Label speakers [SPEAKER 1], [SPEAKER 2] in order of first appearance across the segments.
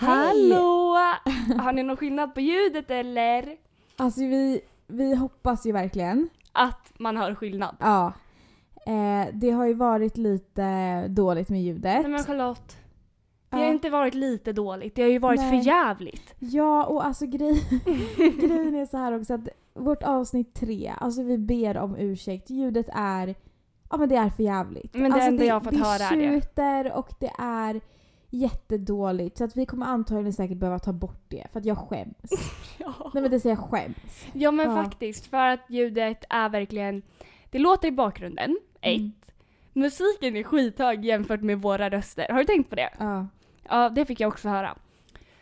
[SPEAKER 1] Hallå! Har ni någon skillnad på ljudet eller?
[SPEAKER 2] Alltså vi, vi hoppas ju verkligen.
[SPEAKER 1] Att man hör skillnad.
[SPEAKER 2] Ja. Eh, det har ju varit lite dåligt med ljudet.
[SPEAKER 1] Nej men Charlotte. Det
[SPEAKER 2] Ja.
[SPEAKER 1] har inte varit lite dåligt, det har ju varit
[SPEAKER 2] Nej.
[SPEAKER 1] för jävligt.
[SPEAKER 2] Ja, och alltså grej, grejen är så här också att vårt avsnitt tre, alltså vi ber om ursäkt. Ljudet är, ja men det är för jävligt.
[SPEAKER 1] Men det
[SPEAKER 2] alltså
[SPEAKER 1] enda jag har fått höra är det.
[SPEAKER 2] det. tjuter och det är jättedåligt. Så att vi kommer antagligen säkert behöva ta bort det för att jag skäms.
[SPEAKER 1] Ja.
[SPEAKER 2] Nej men det säger jag skäms.
[SPEAKER 1] Ja men
[SPEAKER 2] Ja.
[SPEAKER 1] faktiskt, för att ljudet är verkligen... Det låter i bakgrunden, ett.
[SPEAKER 2] Mm.
[SPEAKER 1] Musiken är skithög jämfört med våra röster. Har du tänkt på det?
[SPEAKER 2] Ja.
[SPEAKER 1] Ja, det fick jag också höra.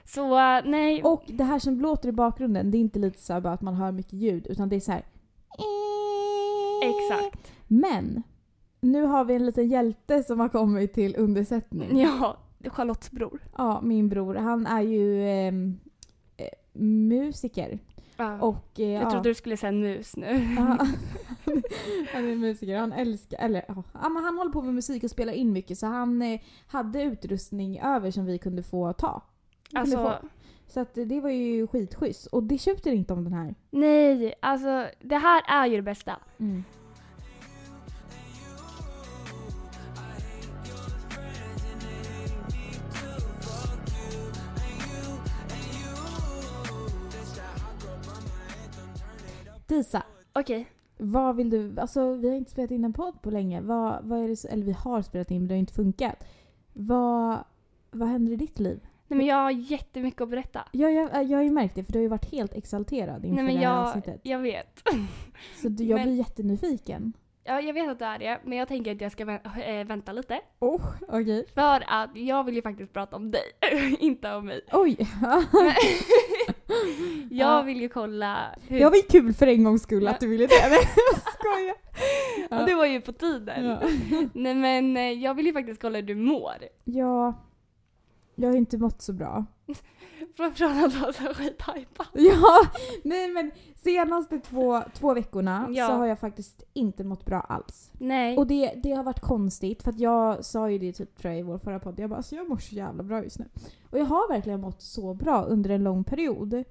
[SPEAKER 1] Så eh, nej.
[SPEAKER 2] Och det här som låter i bakgrunden, det är inte lite så här bara att man hör mycket ljud utan det är så här.
[SPEAKER 1] Exakt.
[SPEAKER 2] Men nu har vi en liten hjälte som har kommit till undersättning.
[SPEAKER 1] Ja, Charlottes bror.
[SPEAKER 2] Ja, min bror. Han är ju ehm, eh, musiker.
[SPEAKER 1] Ja.
[SPEAKER 2] Och, eh,
[SPEAKER 1] jag
[SPEAKER 2] ja.
[SPEAKER 1] trodde du skulle säga mus nu.
[SPEAKER 2] Ja. han är musiker. Han älskar, eller ja, Ja, men han håller på med musik och spelar in mycket så han eh, hade utrustning över som vi kunde få ta. Vi kunde
[SPEAKER 1] Alltså,
[SPEAKER 2] få. Så att, eh, det var ju skitschysst och det tjuter inte om den här.
[SPEAKER 1] nej, alltså det här är ju det bästa.
[SPEAKER 2] Mm. Disa,
[SPEAKER 1] Okej.
[SPEAKER 2] vad vill du, alltså vi har inte spelat in en podd på länge. Vad, vad är det, så- eller vi har spelat in men det har inte funkat. Vad, vad händer i ditt liv?
[SPEAKER 1] Nej men jag har jättemycket att berätta.
[SPEAKER 2] Jag, jag, jag har ju märkt det för du har ju varit helt exalterad inför
[SPEAKER 1] Nej men
[SPEAKER 2] det här
[SPEAKER 1] jag,
[SPEAKER 2] avsnittet.
[SPEAKER 1] jag vet.
[SPEAKER 2] Så du, jag
[SPEAKER 1] men-
[SPEAKER 2] blir jättenyfiken.
[SPEAKER 1] Ja, jag vet att det är det, men jag tänker att jag ska vä- eh, vänta lite.
[SPEAKER 2] Oh, okej.
[SPEAKER 1] För att jag vill ju faktiskt prata om dig, inte om mig.
[SPEAKER 2] Oj! Ja.
[SPEAKER 1] Jag vill ju kolla hur...
[SPEAKER 2] Det var ju kul för en gångs skull att du ville det. Nej, Jag skojar.
[SPEAKER 1] Och det var ju på tiden.
[SPEAKER 2] Ja.
[SPEAKER 1] Nej men eh, jag vill ju faktiskt kolla hur du mår.
[SPEAKER 2] ja. Jag har inte mått så bra.
[SPEAKER 1] Från från att vara så skithajpad.
[SPEAKER 2] Ja, nej men senaste två, två veckorna
[SPEAKER 1] Ja.
[SPEAKER 2] så har jag faktiskt inte mått bra alls.
[SPEAKER 1] Nej.
[SPEAKER 2] Och det, det har varit konstigt för att jag sa ju det typ tror jag i vår förra podd. Jag bara alltså jag mår så jävla bra just nu. Och jag har verkligen mått så bra under en lång period.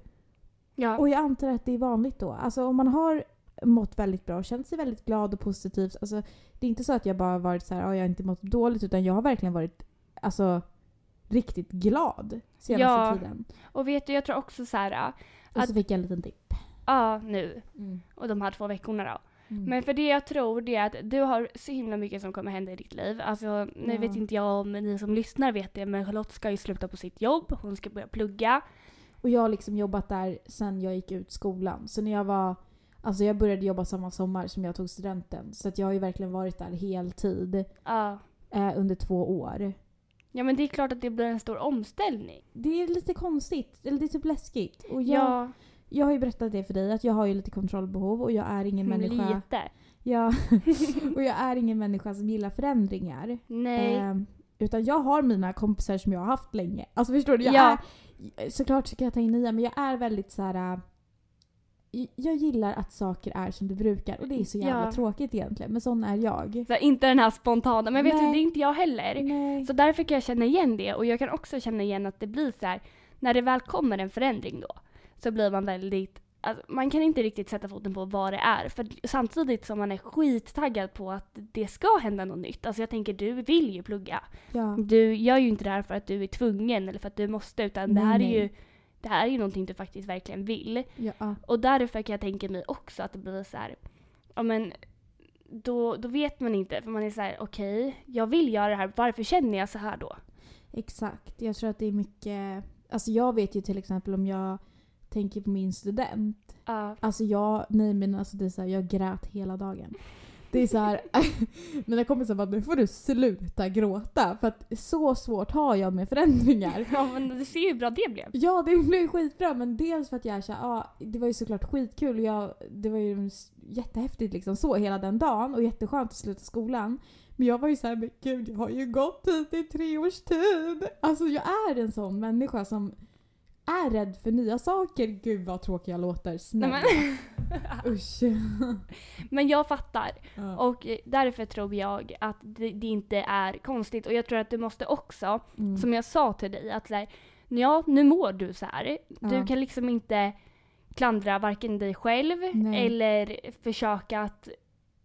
[SPEAKER 1] ja.
[SPEAKER 2] Och jag antar att det är vanligt då. Alltså om man har mått väldigt bra och känt sig väldigt glad och positivt. Alltså, det är inte så att jag bara har varit så här, "Ja, jag har inte mått dåligt utan jag har verkligen varit alltså, riktigt glad senaste
[SPEAKER 1] Ja.
[SPEAKER 2] tiden.
[SPEAKER 1] och vet du, jag tror också så här, ja
[SPEAKER 2] Och
[SPEAKER 1] Att-
[SPEAKER 2] så fick jag en liten dipp.
[SPEAKER 1] ja, nu och de här två veckorna då.
[SPEAKER 2] Mm.
[SPEAKER 1] Men för det jag tror det är att du har så himla mycket som kommer hända i ditt liv. Alltså nu
[SPEAKER 2] Ja.
[SPEAKER 1] vet inte jag om ni som lyssnar vet det men Charlotte ska ju sluta på sitt jobb, hon ska börja plugga.
[SPEAKER 2] Och jag har liksom jobbat där sen jag gick ut skolan. Så när jag var, alltså jag började jobba samma sommar som jag tog studenten. Så att jag har ju verkligen varit där heltid
[SPEAKER 1] Ja.
[SPEAKER 2] eh, under två år.
[SPEAKER 1] Ja men det är klart att det blir en stor omställning.
[SPEAKER 2] Det är lite konstigt, eller det är typ läskigt. Och jag, jag har ju berättat det för dig att jag har ju lite kontrollbehov och jag är ingen
[SPEAKER 1] men
[SPEAKER 2] människa.
[SPEAKER 1] lite.
[SPEAKER 2] Ja, och jag är ingen människa som gillar förändringar.
[SPEAKER 1] Nej.
[SPEAKER 2] Ehm, utan jag har mina kompisar som jag har haft länge. Alltså förstår du? Jag
[SPEAKER 1] Ja.
[SPEAKER 2] är, såklart så kan jag ta in nya men jag är väldigt så här. äh, Jag gillar att saker är som det brukar och det är så jävla
[SPEAKER 1] Ja.
[SPEAKER 2] tråkigt egentligen men sån är jag.
[SPEAKER 1] Så här, inte den här spontana, men vet du
[SPEAKER 2] Nej.
[SPEAKER 1] det är inte jag heller.
[SPEAKER 2] Nej.
[SPEAKER 1] Så därför kan jag känna igen det och jag kan också känna igen att det blir så här när det väl kommer en förändring då så blir man väldigt Alltså, man kan inte riktigt sätta foten på vad det är för samtidigt som man är skittaggad på att det ska hända något nytt. Alltså jag tänker du vill ju plugga.
[SPEAKER 2] Ja.
[SPEAKER 1] Du gör ju inte det här för att du är tvungen eller för att du måste utan det
[SPEAKER 2] Nej,
[SPEAKER 1] här
[SPEAKER 2] nej.
[SPEAKER 1] är ju det här är ju någonting du faktiskt verkligen vill.
[SPEAKER 2] ja.
[SPEAKER 1] Och därför kan jag tänka mig också att det blir så här, ja men då, då vet man inte för man är så här: okej, jag vill göra det här, varför känner jag så här då?
[SPEAKER 2] Exakt. Jag tror att det är mycket. Alltså jag vet ju till exempel om jag tänker på min student
[SPEAKER 1] Ja.
[SPEAKER 2] Alltså jag, nej men alltså det är så här, jag grät hela dagen. Det är så här, mina kompisar bara nu får du sluta gråta för att så svårt har jag med förändringar.
[SPEAKER 1] ja men du ser ju hur bra det blev.
[SPEAKER 2] Ja det blev skitbra men dels för att jag är såhär, ja det var ju såklart skitkul och jag, det var ju s- jättehäftigt liksom så hela den dagen och jätteskönt att sluta skolan. Men jag var ju såhär, men gud jag har ju gått hit i tre års tid. Alltså jag är en sån människa som är rädd för nya saker. Gud vad tråkig jag låter,
[SPEAKER 1] Nej,
[SPEAKER 2] snälla.
[SPEAKER 1] men,
[SPEAKER 2] Usch.
[SPEAKER 1] men jag fattar
[SPEAKER 2] Ja.
[SPEAKER 1] och eh, därför tror jag att det, det inte är konstigt och jag tror att du måste också,
[SPEAKER 2] Mm.
[SPEAKER 1] som jag sa till dig, att så här, ja nu mår du så här. Du
[SPEAKER 2] Ja.
[SPEAKER 1] kan liksom inte klandra varken dig själv
[SPEAKER 2] Nej.
[SPEAKER 1] eller försöka att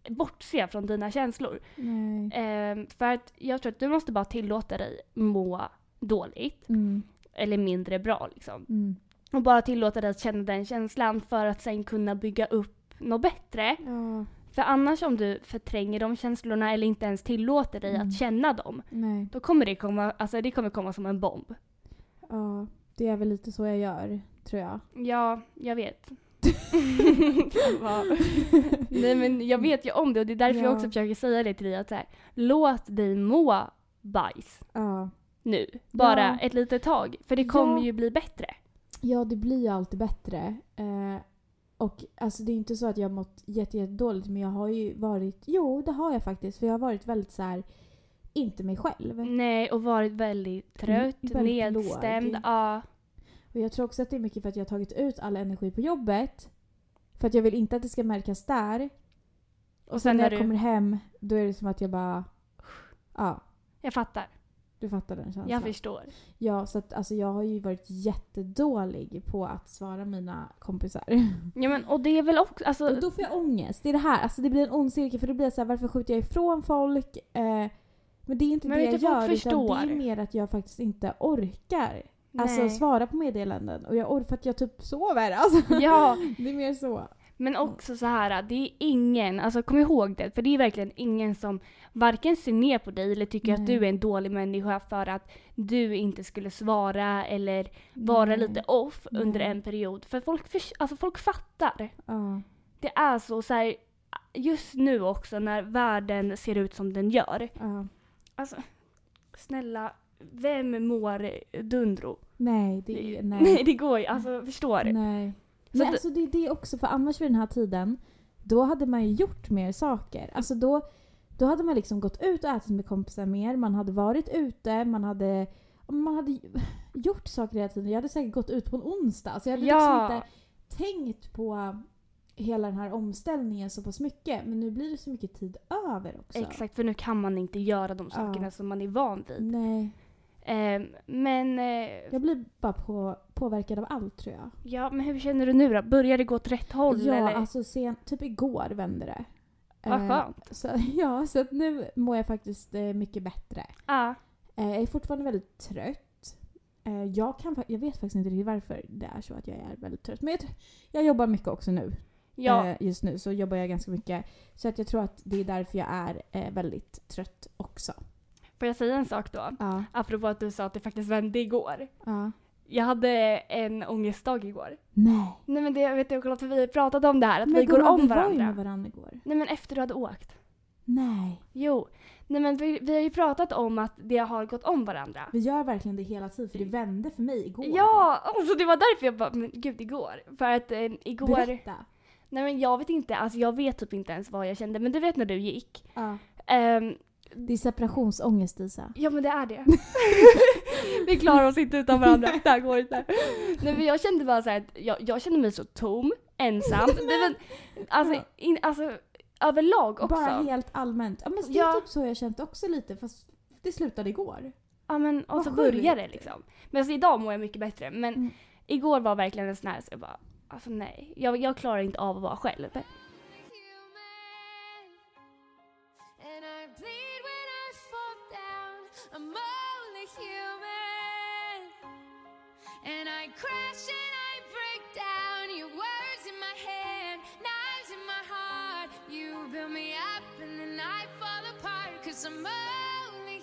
[SPEAKER 1] bortse från dina känslor.
[SPEAKER 2] Nej.
[SPEAKER 1] Ehm, för att jag tror att du måste bara tillåta dig må dåligt
[SPEAKER 2] Mm.
[SPEAKER 1] eller mindre bra liksom.
[SPEAKER 2] Mm.
[SPEAKER 1] Och bara tillåta dig att känna den känslan för att sen kunna bygga upp något bättre.
[SPEAKER 2] Ja.
[SPEAKER 1] För annars om du förtränger de känslorna eller inte ens tillåter dig
[SPEAKER 2] Mm.
[SPEAKER 1] att känna dem,
[SPEAKER 2] Nej.
[SPEAKER 1] då kommer det komma, alltså det kommer komma som en bomb.
[SPEAKER 2] Ja. Det är väl lite så jag gör, tror jag.
[SPEAKER 1] Ja, jag vet. Nej men jag vet ju om det och det är därför jag
[SPEAKER 2] Ja.
[SPEAKER 1] också försöker säga det till dig att så här, låt dig må bajs
[SPEAKER 2] ja.
[SPEAKER 1] nu. Bara
[SPEAKER 2] Ja.
[SPEAKER 1] ett litet tag. För det kommer
[SPEAKER 2] Ja.
[SPEAKER 1] ju bli bättre.
[SPEAKER 2] Ja, det blir ju alltid bättre. Eh, och alltså det är inte så att jag har mått jätte, jättedåligt men jag har ju varit, jo det har jag faktiskt, för jag har varit väldigt så här inte mig själv.
[SPEAKER 1] Nej och varit väldigt trött,
[SPEAKER 2] väldigt
[SPEAKER 1] nedstämd.
[SPEAKER 2] låg.
[SPEAKER 1] Ja.
[SPEAKER 2] Och jag tror också att det är mycket för att jag har tagit ut all energi på jobbet. För att jag vill inte att det ska märkas där.
[SPEAKER 1] Och sen,
[SPEAKER 2] Sen
[SPEAKER 1] när
[SPEAKER 2] när
[SPEAKER 1] du,
[SPEAKER 2] jag kommer hem, då är det som att jag bara... Ja,
[SPEAKER 1] jag fattar.
[SPEAKER 2] du fattar den känslan.
[SPEAKER 1] Jag förstår.
[SPEAKER 2] Ja, så att alltså jag har ju varit jättedålig på att svara mina kompisar.
[SPEAKER 1] Ja men och det är väl också, alltså,
[SPEAKER 2] Och då får jag ångest. Det är det här. Alltså det blir en ond cirkel för det blir så här, varför skjuter jag ifrån folk? Eh, men det är inte
[SPEAKER 1] Men
[SPEAKER 2] det
[SPEAKER 1] vet
[SPEAKER 2] jag
[SPEAKER 1] du, folk
[SPEAKER 2] gör utan det
[SPEAKER 1] förstår.
[SPEAKER 2] är mer att jag faktiskt inte orkar. Alltså
[SPEAKER 1] nej.
[SPEAKER 2] svara på meddelanden. Och jag orkar för att jag typ sover. Alltså.
[SPEAKER 1] Ja,
[SPEAKER 2] Det är mer så.
[SPEAKER 1] men också så här, det är ingen, alltså kom ihåg det, för det är verkligen ingen som varken ser ner på dig eller tycker att
[SPEAKER 2] Nej.
[SPEAKER 1] du är en dålig människa för att du inte skulle svara eller vara
[SPEAKER 2] Nej.
[SPEAKER 1] lite off under
[SPEAKER 2] Nej.
[SPEAKER 1] en period. För folk, förs- alltså, folk fattar.
[SPEAKER 2] Ja.
[SPEAKER 1] Det är så, så här, just nu också när världen ser ut som den gör.
[SPEAKER 2] ja.
[SPEAKER 1] Alltså, snälla, vem mår dundro?
[SPEAKER 2] Nej, det är... Nej.
[SPEAKER 1] Nej, det går ju, alltså förstår du?
[SPEAKER 2] Nej.
[SPEAKER 1] Så
[SPEAKER 2] Men
[SPEAKER 1] att-
[SPEAKER 2] alltså det är det också, för annars vid den här tiden, då hade man ju gjort mer saker. Alltså då, då hade man liksom gått ut och ätit med kompisar mer, man hade varit ute, man hade, man hade gjort saker hela tiden. Jag hade säkert gått ut på en onsdag, så jag hade
[SPEAKER 1] Ja.
[SPEAKER 2] liksom inte tänkt på hela den här omställningen så pass mycket. Men nu blir det så mycket tid över också.
[SPEAKER 1] Exakt, för nu kan man inte göra de
[SPEAKER 2] Ja.
[SPEAKER 1] sakerna som man är van vid.
[SPEAKER 2] Nej,
[SPEAKER 1] Ehm, men, eh,
[SPEAKER 2] jag blir bara på, påverkad av allt tror jag.
[SPEAKER 1] ja, men hur känner du nu då? Börjar det gå åt rätt håll?
[SPEAKER 2] ja,
[SPEAKER 1] eller?
[SPEAKER 2] alltså sen, typ igår vände det.
[SPEAKER 1] Vad
[SPEAKER 2] Eh,
[SPEAKER 1] skönt.
[SPEAKER 2] Så, ja, så att nu mår jag faktiskt eh, mycket bättre.
[SPEAKER 1] Ja.
[SPEAKER 2] Eh, jag är fortfarande väldigt trött. Eh, jag, kan, fa- jag vet faktiskt inte riktigt varför det är så att jag är väldigt trött. Men jag, tr- jag jobbar mycket också nu.
[SPEAKER 1] Ja,
[SPEAKER 2] Eh, just nu så jobbar jag ganska mycket. Så att jag tror att det är därför jag är eh, väldigt trött också.
[SPEAKER 1] får jag säga en sak då?
[SPEAKER 2] Ja.
[SPEAKER 1] Apropå att du sa att det faktiskt vände igår.
[SPEAKER 2] ja.
[SPEAKER 1] Jag hade en ångestdag igår.
[SPEAKER 2] Nej.
[SPEAKER 1] Nej men det, jag vet du, kolla för vi pratade om det här, att
[SPEAKER 2] Men
[SPEAKER 1] vi går
[SPEAKER 2] gumman,
[SPEAKER 1] om
[SPEAKER 2] Vi var ju med
[SPEAKER 1] varandra.
[SPEAKER 2] varandra igår.
[SPEAKER 1] Nej men efter du hade åkt.
[SPEAKER 2] Nej.
[SPEAKER 1] Jo. Nej men vi, vi har ju pratat om att det har gått om varandra.
[SPEAKER 2] Vi gör verkligen det hela tiden för det vände för mig igår.
[SPEAKER 1] Ja, alltså det var därför jag bara, men gud igår. För att eh, igår...
[SPEAKER 2] Berätta.
[SPEAKER 1] Nej men jag vet inte, alltså jag vet typ inte ens vad jag kände men du vet när du gick.
[SPEAKER 2] Ja.
[SPEAKER 1] Ehm,
[SPEAKER 2] Det är separationsångest Isa.
[SPEAKER 1] ja men det är det. Vi klarar oss inte utan varandra, det här går inte. Nej men jag kände bara så här att jag, jag kände mig så tom, ensam. Det var, alltså,
[SPEAKER 2] Ja.
[SPEAKER 1] in, alltså överlag också.
[SPEAKER 2] Bara helt allmänt. Ja, men det är
[SPEAKER 1] Ja.
[SPEAKER 2] typ så jag känt också lite fast det slutade igår.
[SPEAKER 1] Ja men och
[SPEAKER 2] Vad
[SPEAKER 1] så
[SPEAKER 2] sjukt.
[SPEAKER 1] började det liksom. Men alltså idag mår jag mycket bättre men
[SPEAKER 2] Mm.
[SPEAKER 1] igår var verkligen en sån här så jag bara, alltså nej. Jag, jag klarar inte av att vara själv.
[SPEAKER 3] And I bleed when I fall down. I'm only human. And I crash and I break down. Your words in my head, knives in my heart. You build me up and then I fall apart. Cause I'm only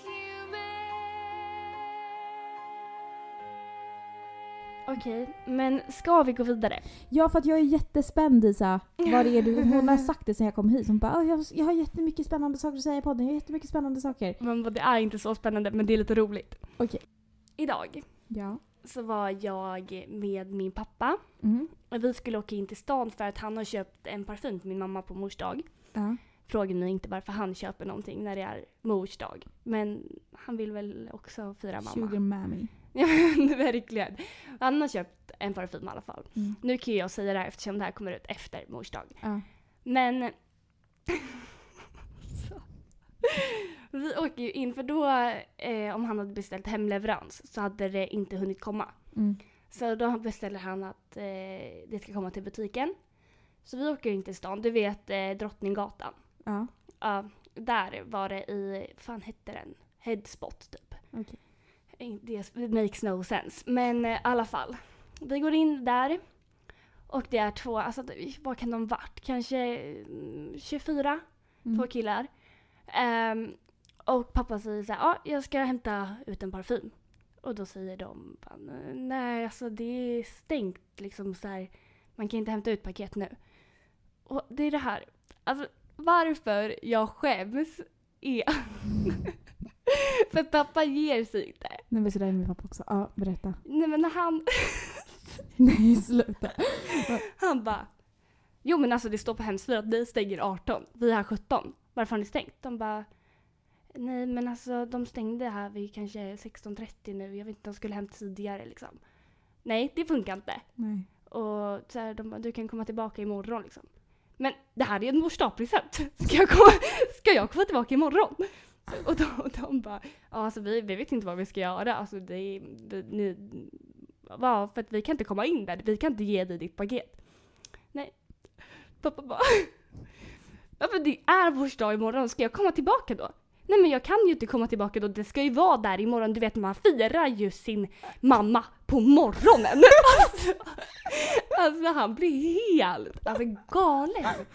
[SPEAKER 3] human.
[SPEAKER 1] Okej, men ska vi gå vidare?
[SPEAKER 2] Ja, för att jag är jättespänd Isa. Vad det är du, hon har sagt det sen jag kom hit. Hon bara "Ah, jag, jag har jättemycket spännande saker att säga i podden. Jag har jättemycket spännande saker.
[SPEAKER 1] Men det är inte så spännande men det är lite roligt.
[SPEAKER 2] Okej.
[SPEAKER 1] Idag
[SPEAKER 2] Ja.
[SPEAKER 1] så var jag med min pappa.
[SPEAKER 2] Mm.
[SPEAKER 1] Och Vi skulle åka in till stan för att han har köpt en parfym till min mamma på mors dag.
[SPEAKER 2] Ja.
[SPEAKER 1] Fråga mig inte varför han köper någonting när det är mors dag. Men han vill väl också fira mamma.
[SPEAKER 2] Sugar mammy.
[SPEAKER 1] Ja men verkligen. Han har köpt en parfym i alla fall.
[SPEAKER 2] Mm.
[SPEAKER 1] Nu kan ju jag säga det här eftersom det här kommer ut efter mors dag.
[SPEAKER 2] Ja.
[SPEAKER 1] Men... så. Vi åker ju in, för då, eh, om han hade beställt hemleverans så hade det inte hunnit komma.
[SPEAKER 2] Mm.
[SPEAKER 1] Så då beställer han att eh, det ska komma till butiken. Så vi åker in till stan, du vet eh, Drottninggatan.
[SPEAKER 2] Ja,
[SPEAKER 1] Ja, där var det i, fan hette den? Headspot typ. Eh,
[SPEAKER 2] okej.
[SPEAKER 1] Det makes no sense. Men eh, i alla fall. Vi går in där. Och det är två, alltså det- vad kan de varit? Kanske mm, 24?
[SPEAKER 2] Mm.
[SPEAKER 1] Två killar. Ehm, och pappa säger så här, ja jag ska hämta ut en parfym. Och då säger de, fan, eh, nej alltså det är stängt liksom så här. Man kan inte hämta ut paket nu. Och det är det här, alltså varför jag skäms är för pappa ger sig inte.
[SPEAKER 2] Nej men sådär är min pappa också. Ja, berätta.
[SPEAKER 1] Nej men när han,
[SPEAKER 2] Nej, sluta.
[SPEAKER 1] han bara Jo men alltså det står på hemsidan att ni stänger 18, vi har 17. Varför har ni stängt? De bara Nej men alltså de stängde här vid kanske 16.30 nu, jag vet inte, de skulle hem tidigare liksom. Nej det funkar inte.
[SPEAKER 2] Nej.
[SPEAKER 1] Och så här, de bara, du kan komma tillbaka imorgon liksom. Men det här är ju en mors present ska, jag komma- ska jag komma tillbaka imorgon? Och de, och de bara, ja alltså vi, vi vet inte vad vi ska göra. Alltså det är, vi, ni, va, för att vi kan inte komma in där, vi kan inte ge dig ditt paket. Nej. Pappa bara, ja men det är mors dag imorgon, ska jag komma tillbaka då? Nej men jag kan ju inte komma tillbaka då, det ska ju vara där imorgon. Du vet man firar ju sin mamma på morgonen. Alltså, alltså han blir helt alltså, galen.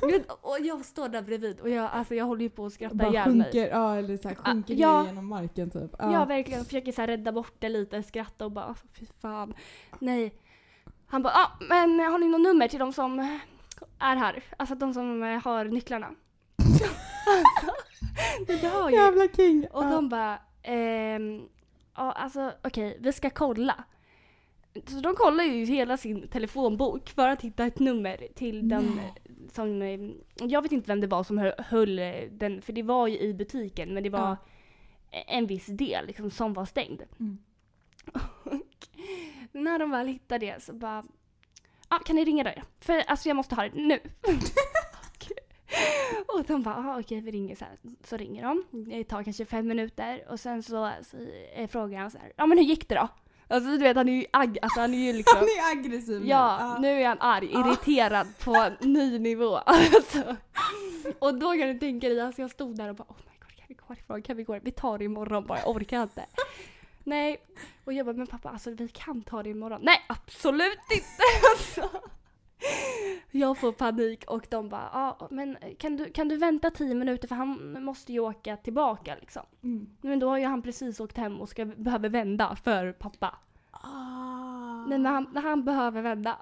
[SPEAKER 1] Du vet, Och jag står där bredvid och jag, alltså, jag håller ju på att skratta
[SPEAKER 2] Bara
[SPEAKER 1] ihjäl mig.
[SPEAKER 2] sjunker, ja, eller så här, sjunker
[SPEAKER 1] Ah, ja.
[SPEAKER 2] ner genom marken typ. Ja.
[SPEAKER 1] Jag verkligen försöker så här rädda bort det lite, skratta och bara "Alltså, fy fan. Nej. Han bara, ah, men har ni något nummer till de som eh, är här? Alltså de som eh, har nycklarna. alltså, det hör ju.
[SPEAKER 2] Jävla king!
[SPEAKER 1] Och
[SPEAKER 2] ja.
[SPEAKER 1] de bara, ehm, ja alltså okej vi ska kolla. Så de kollar ju hela sin telefonbok för att hitta ett nummer till den
[SPEAKER 2] Nej.
[SPEAKER 1] som, eh, jag vet inte vem det var som hö- höll eh, den, för det var ju i butiken men det var
[SPEAKER 2] Ja.
[SPEAKER 1] en viss del liksom, som var stängd.
[SPEAKER 2] Mm.
[SPEAKER 1] Och när de väl hittar det så bara, ah, kan ni ringa där? För alltså jag måste ha det nu. och de bara, ah, okej vi ringer så här. Så ringer de, det tar kanske fem minuter och sen så, så eh, frågar han så här, ja ah, men hur gick det då? Alltså du vet han är ju agg, alltså han är ju liksom
[SPEAKER 2] Han är aggressiv nu.
[SPEAKER 1] Ja, nu är han arg,
[SPEAKER 2] Ja.
[SPEAKER 1] irriterad på en ny nivå. Alltså. Och då kan du tänka dig, alltså jag stod där och bara oh my god, kan vi gå härifrån? Kan vi gå härifrån? Vi tar det imorgon bara, jag orkar inte. Nej, och jag bara men pappa alltså vi kan ta det imorgon. Nej absolut inte! Alltså. Jag får panik och de bara ja men kan du, kan du vänta tio minuter för han måste ju åka tillbaka liksom.
[SPEAKER 2] Mm.
[SPEAKER 1] Men då har ju han precis åkt hem och ska, behöver vända för pappa.
[SPEAKER 2] Ah.
[SPEAKER 1] Men när han, när han behöver vända.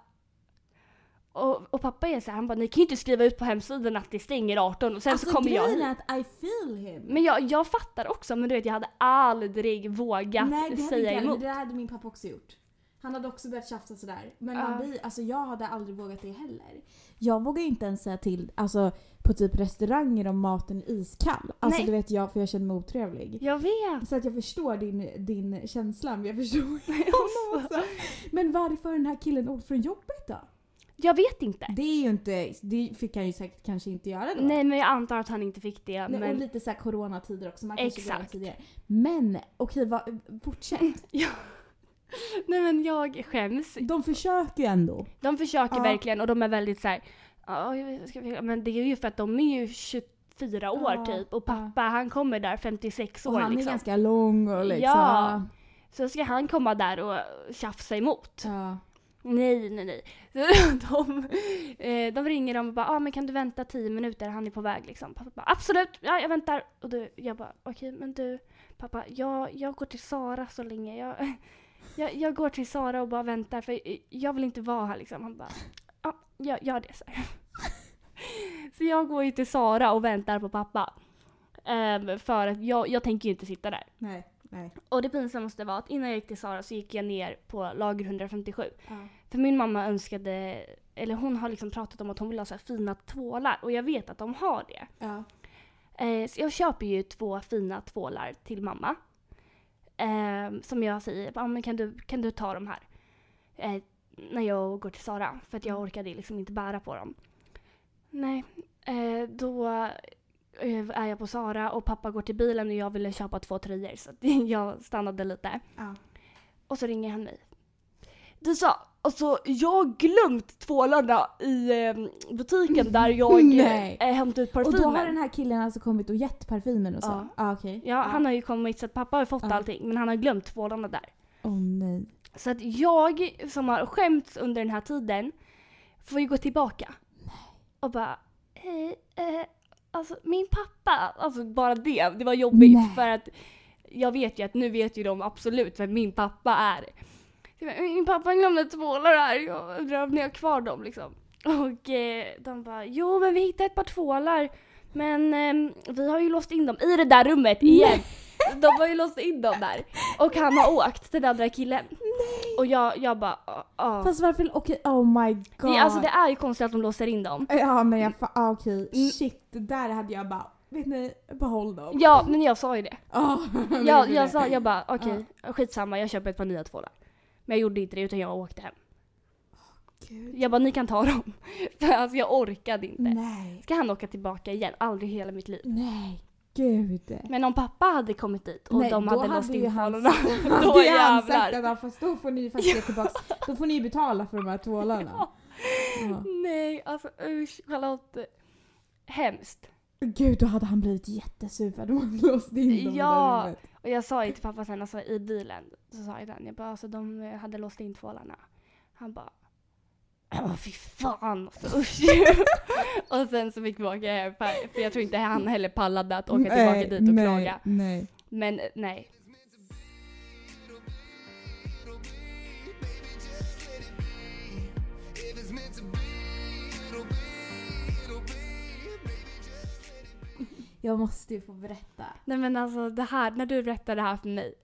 [SPEAKER 1] Och, och pappa är så här, han bara ni kan ju inte skriva ut på hemsidan att det stänger 18 och sen så kommer jag
[SPEAKER 2] Alltså, grejen
[SPEAKER 1] hit."
[SPEAKER 2] är att I feel him.
[SPEAKER 1] Men jag, jag fattar också men du vet jag hade aldrig vågat
[SPEAKER 2] Nej, det hade
[SPEAKER 1] säga
[SPEAKER 2] inte jag, men
[SPEAKER 1] emot.
[SPEAKER 2] det där hade min pappa också gjort. Han hade också börjat tjafsa sådär. Men man
[SPEAKER 1] Ja.
[SPEAKER 2] blir, alltså, jag hade aldrig vågat det heller. Jag vågar ju inte ens säga till alltså, på typ restauranger om maten är iskall. Alltså
[SPEAKER 1] Nej.
[SPEAKER 2] det vet jag för jag känner mig otrevlig.
[SPEAKER 1] Jag vet!
[SPEAKER 2] Så att jag förstår din, din känsla men jag förstår honom
[SPEAKER 1] Alltså.
[SPEAKER 2] också. Men varför har den här killen åkt från jobbet då?
[SPEAKER 1] Jag vet inte.
[SPEAKER 2] Det är ju inte, det fick han ju säkert kanske inte göra då.
[SPEAKER 1] Nej men jag antar att han inte fick det.
[SPEAKER 2] Nej, Och
[SPEAKER 1] men
[SPEAKER 2] lite såhär coronatider också, man kanske går
[SPEAKER 1] Exakt. Typ.
[SPEAKER 2] tidigare. Men okej, vad- fortsätt.
[SPEAKER 1] nej men jag skäms.
[SPEAKER 2] De försöker ju ändå.
[SPEAKER 1] De försöker
[SPEAKER 2] Ja.
[SPEAKER 1] verkligen och de är väldigt så här. "Ja, jag ska försöka." Men det är ju för att de är ju 24 år
[SPEAKER 2] Ja,
[SPEAKER 1] typ och
[SPEAKER 2] ja.
[SPEAKER 1] pappa han kommer där 56
[SPEAKER 2] Och
[SPEAKER 1] år
[SPEAKER 2] han
[SPEAKER 1] liksom.
[SPEAKER 2] är ganska lång och liksom...
[SPEAKER 1] Ja. Så ska han komma där och tjafsa emot.
[SPEAKER 2] Ja.
[SPEAKER 1] Nej, nej, nej. Så de, eh, de ringer dem och bara ah, men kan du vänta 10 minuter, han är på väg liksom. Pappa bara absolut, ja jag väntar. Och då, jag bara okej men du pappa, jag, jag går till Sara så länge. Jag, jag, jag går till Sara och bara väntar för jag vill inte vara här liksom. Han bara ja, jag gör det så här. Så jag går ju till Sara och väntar på pappa. Ehm, för att jag, jag tänker ju inte sitta där.
[SPEAKER 2] Nej, nej.
[SPEAKER 1] Och det pinsammaste var att innan jag gick till Sara så gick jag ner på lager 157.
[SPEAKER 2] Ja.
[SPEAKER 1] För min mamma önskade, eller hon har liksom pratat om att hon vill ha så här fina tvålar och jag vet att de har det.
[SPEAKER 2] Ja.
[SPEAKER 1] Eh, så jag köper ju två fina tvålar till mamma. Eh, som jag säger, ah, men kan, du, kan du ta de här? Eh, när jag går till Sara,
[SPEAKER 2] Mm.
[SPEAKER 1] för att jag orkade liksom inte bära på dem. Nej, eh, då eh, är jag på Sara och pappa går till bilen och jag ville köpa två tröjor så att jag stannade lite.
[SPEAKER 2] Ja.
[SPEAKER 1] Och så ringer han mig. Du sa, alltså jag har glömt tvålarna i eh, butiken där jag
[SPEAKER 2] Nej.
[SPEAKER 1] eh, hämtade ut
[SPEAKER 2] Och
[SPEAKER 1] parfymen.
[SPEAKER 2] då har den här killen alltså kommit och gett parfymen och så?
[SPEAKER 1] Ja.
[SPEAKER 2] ah, okej.
[SPEAKER 1] Ja, han har ju kommit så att pappa har fått
[SPEAKER 2] Ja.
[SPEAKER 1] allting men han har glömt tvålarna där.
[SPEAKER 2] Åh nej.
[SPEAKER 1] Så att jag som har skämts under den här tiden får ju gå tillbaka. Och bara, hej, eh, alltså min pappa, alltså bara det, det var jobbigt
[SPEAKER 2] Nej.
[SPEAKER 1] för att jag vet ju att nu vet ju de absolut vem min pappa är. Så jag bara, Min pappa glömde tvålar här, jag undrar om ni har kvar dem liksom. Och eh, de bara, jo men vi hittade ett par tvålar men ehm, vi har ju låst in dem i det där rummet igen. De har ju låst in dem där. Och han har åkt, den andra killen.
[SPEAKER 2] Nej.
[SPEAKER 1] Och jag, jag bara, ja, ja.
[SPEAKER 2] Fast varför, okej, oh my god.
[SPEAKER 1] Det, alltså det är ju konstigt att de låser in dem.
[SPEAKER 2] Ja men jag, fa- ah, okej.
[SPEAKER 1] Mm.
[SPEAKER 2] Shit, det där hade jag bara, vet ni, behåll dem. Ah,
[SPEAKER 1] Ja, men jag sa ju det.
[SPEAKER 2] Ja,
[SPEAKER 1] Jag, jag sa, jag bara okej, skitsamma jag köper ett par nya tvålar. Men jag gjorde inte det utan jag åkte hem.
[SPEAKER 2] Gud.
[SPEAKER 1] Jag bara, ni kan ta dem. För alltså jag orkade inte.
[SPEAKER 2] Nej.
[SPEAKER 1] Ska han åka tillbaka igen? Aldrig i hela mitt liv.
[SPEAKER 2] Nej, gud.
[SPEAKER 1] Men om pappa hade kommit dit och
[SPEAKER 2] Nej,
[SPEAKER 1] de
[SPEAKER 2] då
[SPEAKER 1] hade
[SPEAKER 2] hade
[SPEAKER 1] låst
[SPEAKER 2] ju
[SPEAKER 1] in
[SPEAKER 2] han-
[SPEAKER 1] tvålarna,
[SPEAKER 2] Då
[SPEAKER 1] då
[SPEAKER 2] det är han sagt
[SPEAKER 1] jävlar.
[SPEAKER 2] att ja, fast då får ni faktiskt ge tillbaks, då får ni betala för de här tvålarna. Ja.
[SPEAKER 1] Nej, alltså usch Charlotte. Hemskt.
[SPEAKER 2] Gud, då hade han blivit jättesur för att de hade låst in dem i
[SPEAKER 1] Ja.
[SPEAKER 2] det där rummet.
[SPEAKER 1] Och jag sa ju till pappa sen alltså, i bilen, så sa jag den, jag bara alltså de eh, hade låst in tvålarna. Han bara Åh fy fan alltså, usch. Och sen så fick vi åka hem för för jag tror inte han heller pallade att åka tillbaka
[SPEAKER 2] Nej,
[SPEAKER 1] dit och
[SPEAKER 2] nej,
[SPEAKER 1] klaga.
[SPEAKER 2] Nej.
[SPEAKER 1] Men eh, nej.
[SPEAKER 2] Jag måste ju få berätta.
[SPEAKER 1] Nej men alltså det här, när du berättar det här för mig.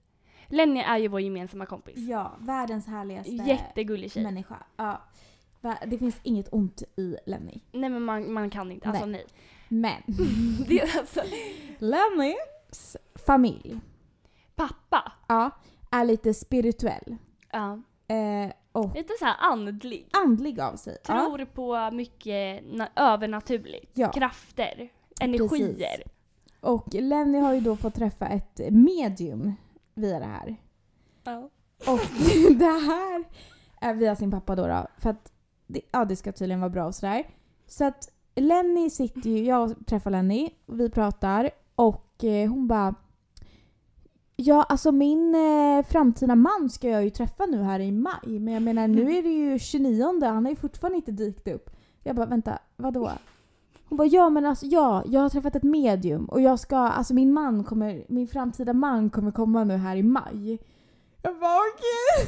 [SPEAKER 1] Lenny är ju vår gemensamma kompis.
[SPEAKER 2] Ja, världens härligaste
[SPEAKER 1] Jättegullig tjej.
[SPEAKER 2] människa. Ja. Va- Det finns inget ont i Lenny.
[SPEAKER 1] Nej men man, man kan inte, alltså nej.
[SPEAKER 2] Men
[SPEAKER 1] Det är alltså,
[SPEAKER 2] Lennys familj
[SPEAKER 1] pappa.
[SPEAKER 2] ja, är lite spirituell
[SPEAKER 1] Ja.
[SPEAKER 2] eh, och
[SPEAKER 1] Lite så här andlig.
[SPEAKER 2] andlig av sig. Ja.
[SPEAKER 1] tror på mycket na- övernaturligt.
[SPEAKER 2] Ja.
[SPEAKER 1] Krafter, energier.
[SPEAKER 2] Och Lenny har ju då fått träffa ett medium via det här.
[SPEAKER 1] Ja.
[SPEAKER 2] Och det här är eh, via sin pappa då, då för att det, ja, det ska tydligen vara bra och sådär. Så att Lenny sitter ju, jag träffar Lenny, vi pratar och eh, hon bara Ja, alltså min eh, framtida man ska jag ju träffa nu här i maj. Men jag menar nu är det ju 29, han har ju fortfarande inte dykt upp. Jag bara vänta, vadå? Hon bara ja men alltså ja, jag har träffat ett medium och jag ska, alltså min man kommer, min framtida man kommer komma nu här i maj. Jag bara okej.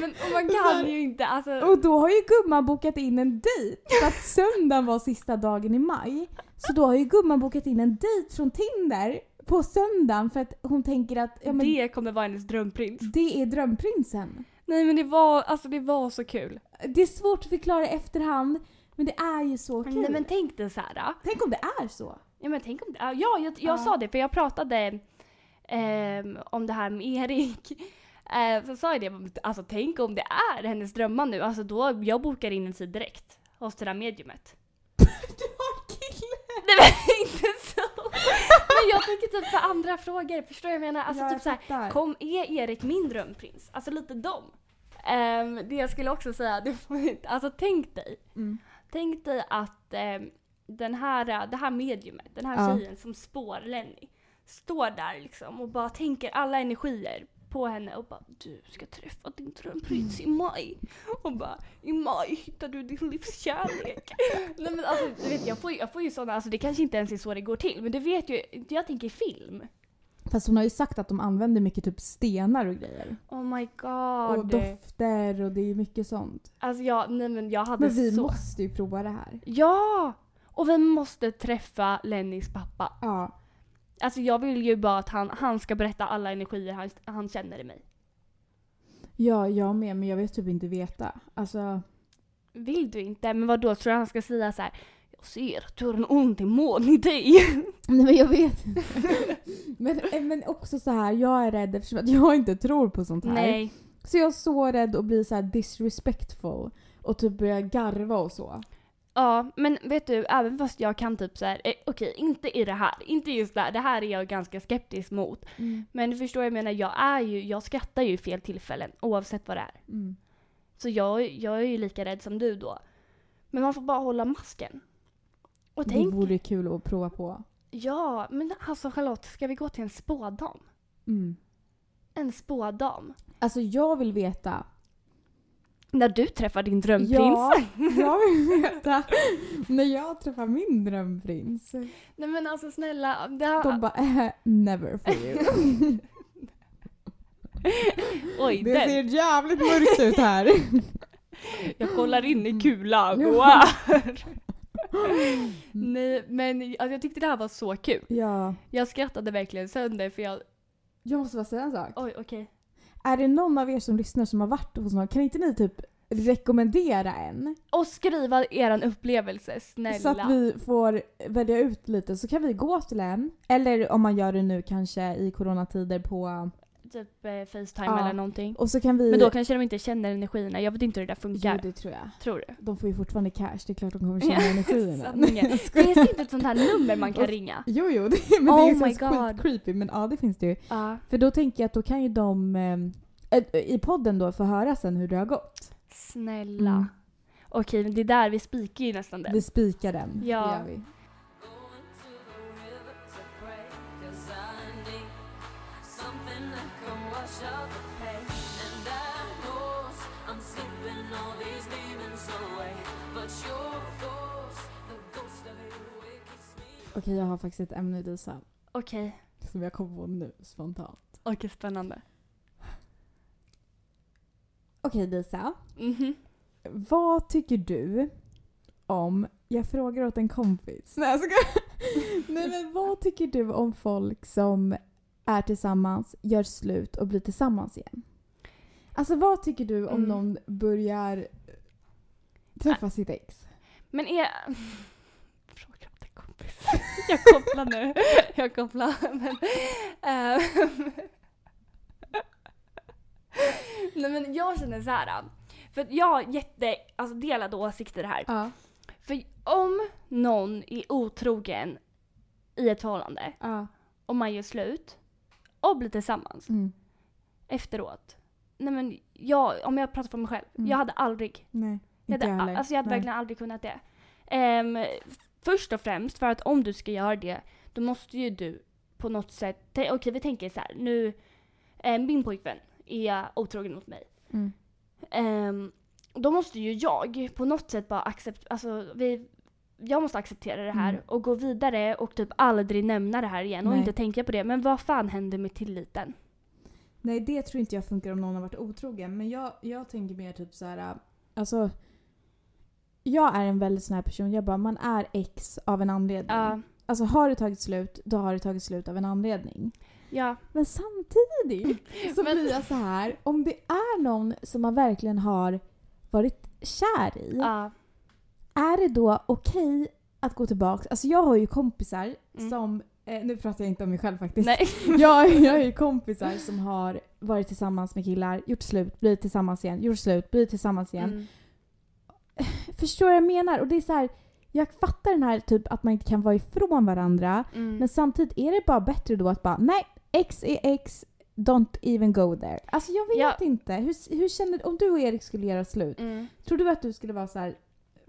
[SPEAKER 1] Men och man
[SPEAKER 2] Så här-
[SPEAKER 1] kan ju inte, alltså.
[SPEAKER 2] Och då har ju gumman bokat in en dejt för att söndagen var sista dagen i maj. Så då har ju gumman bokat in en dejt från Tinder på söndagen för att hon tänker att ja, men det...
[SPEAKER 1] Det kommer vara hennes drömprins.
[SPEAKER 2] är drömprinsen.
[SPEAKER 1] Nej men det var, alltså det var så kul.
[SPEAKER 2] Det är svårt att förklara i efterhand men det är ju så kul.
[SPEAKER 1] Nej men tänk dig så här. ja.
[SPEAKER 2] Tänk om det är så.
[SPEAKER 1] Ja men tänk om det, ja jag, jag
[SPEAKER 2] Ja.
[SPEAKER 1] sa det för jag pratade ehm, om det här med Erik. Eh, så sa jag det, alltså tänk om det är hennes drömmar nu. Alltså då, jag bokar in en tid direkt hos det där mediumet.
[SPEAKER 2] Du har kille!
[SPEAKER 1] Nej men inte så! Men jag tänker typ på andra frågor, förstår jag vad jag menar? Alltså
[SPEAKER 2] Ja,
[SPEAKER 1] typ
[SPEAKER 2] jag
[SPEAKER 1] så här,
[SPEAKER 2] fattar.
[SPEAKER 1] kom, är Erik min drömprins? Alltså lite dem. Ehm, det jag skulle också säga, det får man inte- alltså tänk dig,
[SPEAKER 2] Mm.
[SPEAKER 1] tänk dig att ehm, den här, eh, det här mediumet, den här
[SPEAKER 2] Ja.
[SPEAKER 1] tjejen som spår Lenny, står där liksom och bara tänker alla energier på henne och bara du ska träffa din drömprins i maj. Och bara i maj hittar du din livskärlek. Nej men alltså du vet jag får, ju- jag får ju sådana, alltså det kanske inte ens är så det går till men du vet ju, jag tänker film.
[SPEAKER 2] Fast hon har ju sagt att de använder mycket typ stenar och grejer.
[SPEAKER 1] Oh my god.
[SPEAKER 2] och dofter och det är mycket sånt.
[SPEAKER 1] Alltså jag, nej men jag hade
[SPEAKER 2] Men vi
[SPEAKER 1] så...
[SPEAKER 2] måste ju prova det här.
[SPEAKER 1] Ja! Och vi måste träffa Lennys pappa.
[SPEAKER 2] Ja.
[SPEAKER 1] Alltså jag vill ju bara att han, han ska berätta alla energier han, han känner i mig.
[SPEAKER 2] Ja, jag med, men jag vill typ inte veta. Alltså,
[SPEAKER 1] Vill du inte? Men vad då tror du han ska säga så här? Jag ser att du har en ond demon i dig.
[SPEAKER 2] nej men jag vet inte. men, eh, men också så här, jag är rädd eftersom att jag inte tror på sånt här.
[SPEAKER 1] Nej.
[SPEAKER 2] Så jag är så rädd att bli så här disrespectful och typ börja garva och så.
[SPEAKER 1] Ja, men vet du, även fast jag kan typ så här, eh, okej, inte i det här, inte just det här, det här är jag ganska skeptisk mot.
[SPEAKER 2] Mm.
[SPEAKER 1] Men du förstår, jag menar, jag är ju, jag skrattar ju i fel tillfällen oavsett vad det är.
[SPEAKER 2] Mm.
[SPEAKER 1] Så jag, jag är ju lika rädd som du då. Men man får bara hålla masken. Och
[SPEAKER 2] Det
[SPEAKER 1] tänk,
[SPEAKER 2] vore ju kul att prova på.
[SPEAKER 1] ja, men alltså Charlotte, ska vi gå till en spådam?
[SPEAKER 2] Mm.
[SPEAKER 1] En spådam.
[SPEAKER 2] Alltså jag vill veta.
[SPEAKER 1] När du träffar din drömprins.
[SPEAKER 2] Ja, jag vill veta. När jag träffar min drömprins.
[SPEAKER 1] Nej men alltså snälla, det här,
[SPEAKER 2] De bara eh, never for you.
[SPEAKER 1] oj,
[SPEAKER 2] Det
[SPEAKER 1] den,
[SPEAKER 2] ser jävligt mörkt ut här. Mm.
[SPEAKER 1] jag kollar in i kulan.
[SPEAKER 2] Ja.
[SPEAKER 1] Wow. Nej men alltså, jag tyckte det här var så kul.
[SPEAKER 2] Ja.
[SPEAKER 1] Jag skrattade verkligen sönder för jag,
[SPEAKER 2] Jag måste bara säga en sak.
[SPEAKER 1] oj okej.
[SPEAKER 2] Är det någon av er som lyssnar som har varit hos någon, kan inte ni typ rekommendera en?
[SPEAKER 1] Och skriva eran upplevelse, snälla.
[SPEAKER 2] Så att vi får välja ut lite så kan vi gå till en. Eller om man gör det nu kanske i coronatider på...
[SPEAKER 1] Typ eh, Facetime
[SPEAKER 2] Ja.
[SPEAKER 1] eller någonting.
[SPEAKER 2] Och så kan vi...
[SPEAKER 1] Men då kanske de inte känner energierna, jag vet inte hur det där
[SPEAKER 2] Jo,
[SPEAKER 1] funkar.
[SPEAKER 2] det tror jag.
[SPEAKER 1] Tror du?
[SPEAKER 2] De får ju fortfarande cash, det är klart de kommer känna energin. i den.
[SPEAKER 1] Sanningen.
[SPEAKER 2] Jag skojar.
[SPEAKER 1] Finns det inte ett sånt här nummer man kan
[SPEAKER 2] Och-
[SPEAKER 1] ringa?
[SPEAKER 2] Jo, jo, det, men
[SPEAKER 1] Oh
[SPEAKER 2] det
[SPEAKER 1] my
[SPEAKER 2] är så
[SPEAKER 1] God.
[SPEAKER 2] skit creepy. Men ja, det finns det ju.
[SPEAKER 1] Ja.
[SPEAKER 2] För då tänker jag att då kan ju de eh, eh, i podden då få höra sen hur det har gått.
[SPEAKER 1] Snälla.
[SPEAKER 2] Mm.
[SPEAKER 1] Okej, men det är där vi spikar ju nästan den.
[SPEAKER 2] Vi spikar den.
[SPEAKER 1] Ja.
[SPEAKER 2] Det gör vi.
[SPEAKER 4] Going to the river to pray, 'cause I need something that can wash out the pain. And I know I'm slipping all these demons away, but your ghost, the ghost of you, it keeps me.
[SPEAKER 2] Okej, jag har faktiskt ett ämne Disa,
[SPEAKER 1] Okej.
[SPEAKER 2] som jag kom på nu spontant.
[SPEAKER 1] Okej, spännande.
[SPEAKER 2] Okej Disa,
[SPEAKER 1] Mhm.
[SPEAKER 2] vad tycker du om... Jag frågar åt en kompis. Nej, jag skojar. Nej men vad tycker du om folk som är tillsammans, gör slut och blir tillsammans igen? Alltså vad tycker du om
[SPEAKER 1] Mm.
[SPEAKER 2] någon börjar träffa sitt ex?
[SPEAKER 1] Men är... Fråga åt en kompis. Jag kopplar nu. Jag kopplar. Men, ehm. Nej men jag känner så här. äh. För att jag har jätte, alltså delade åsikter här.
[SPEAKER 2] Ja.
[SPEAKER 1] För om någon är otrogen i ett förhållande
[SPEAKER 2] ja.
[SPEAKER 1] och man gör slut och blir tillsammans
[SPEAKER 2] Mm.
[SPEAKER 1] efteråt. Nej men jag, om jag pratar för mig själv,
[SPEAKER 2] Mm.
[SPEAKER 1] jag hade aldrig
[SPEAKER 2] Nej,
[SPEAKER 1] jag
[SPEAKER 2] inte
[SPEAKER 1] hade,
[SPEAKER 2] jag heller.
[SPEAKER 1] alltså jag hade
[SPEAKER 2] Nej.
[SPEAKER 1] verkligen aldrig kunnat det. Ehm, först och främst för att om du ska göra det då måste ju du på något sätt, tä- okej vi tänker så här, nu, eh, min pojkvän är otrogen mot mig.
[SPEAKER 2] Mm.
[SPEAKER 1] Ehm, då måste ju jag på något sätt bara acceptera, alltså vi, jag måste acceptera det här
[SPEAKER 2] Mm.
[SPEAKER 1] och gå vidare och typ aldrig nämna det här igen och
[SPEAKER 2] Nej.
[SPEAKER 1] inte tänka på det. Men vad fan händer med tilliten?
[SPEAKER 2] Nej, det tror inte jag funkar om någon har varit otrogen. Men jag, jag tänker mer typ så här, alltså. Jag är en väldigt sån här person. Jag bara, man är ex av en anledning.
[SPEAKER 1] Ja,
[SPEAKER 2] Alltså har det tagit slut, då har det tagit slut av en anledning.
[SPEAKER 1] ja,
[SPEAKER 2] Men samtidigt så
[SPEAKER 1] Men-
[SPEAKER 2] blir jag så här, om det är någon som man verkligen har varit kär i.
[SPEAKER 1] ja.
[SPEAKER 2] Är det då okej att gå tillbaka? Alltså jag har ju kompisar
[SPEAKER 1] Mm.
[SPEAKER 2] som, eh, nu pratar jag inte om mig själv faktiskt.
[SPEAKER 1] Nej.
[SPEAKER 2] jag, jag har ju kompisar som har varit tillsammans med killar, gjort slut, blivit tillsammans igen, gjort slut, blivit tillsammans igen.
[SPEAKER 1] Mm.
[SPEAKER 2] Förstår vad jag menar? Och det är så här, jag fattar den här typ att man inte kan vara ifrån varandra,
[SPEAKER 1] Mm.
[SPEAKER 2] men samtidigt är det bara bättre då att bara nej, X är X, don't even go there. Alltså jag vet
[SPEAKER 1] Ja.
[SPEAKER 2] inte. Hur, hur känner Om du och Erik skulle göra slut,
[SPEAKER 1] Mm.
[SPEAKER 2] tror du att du skulle vara så här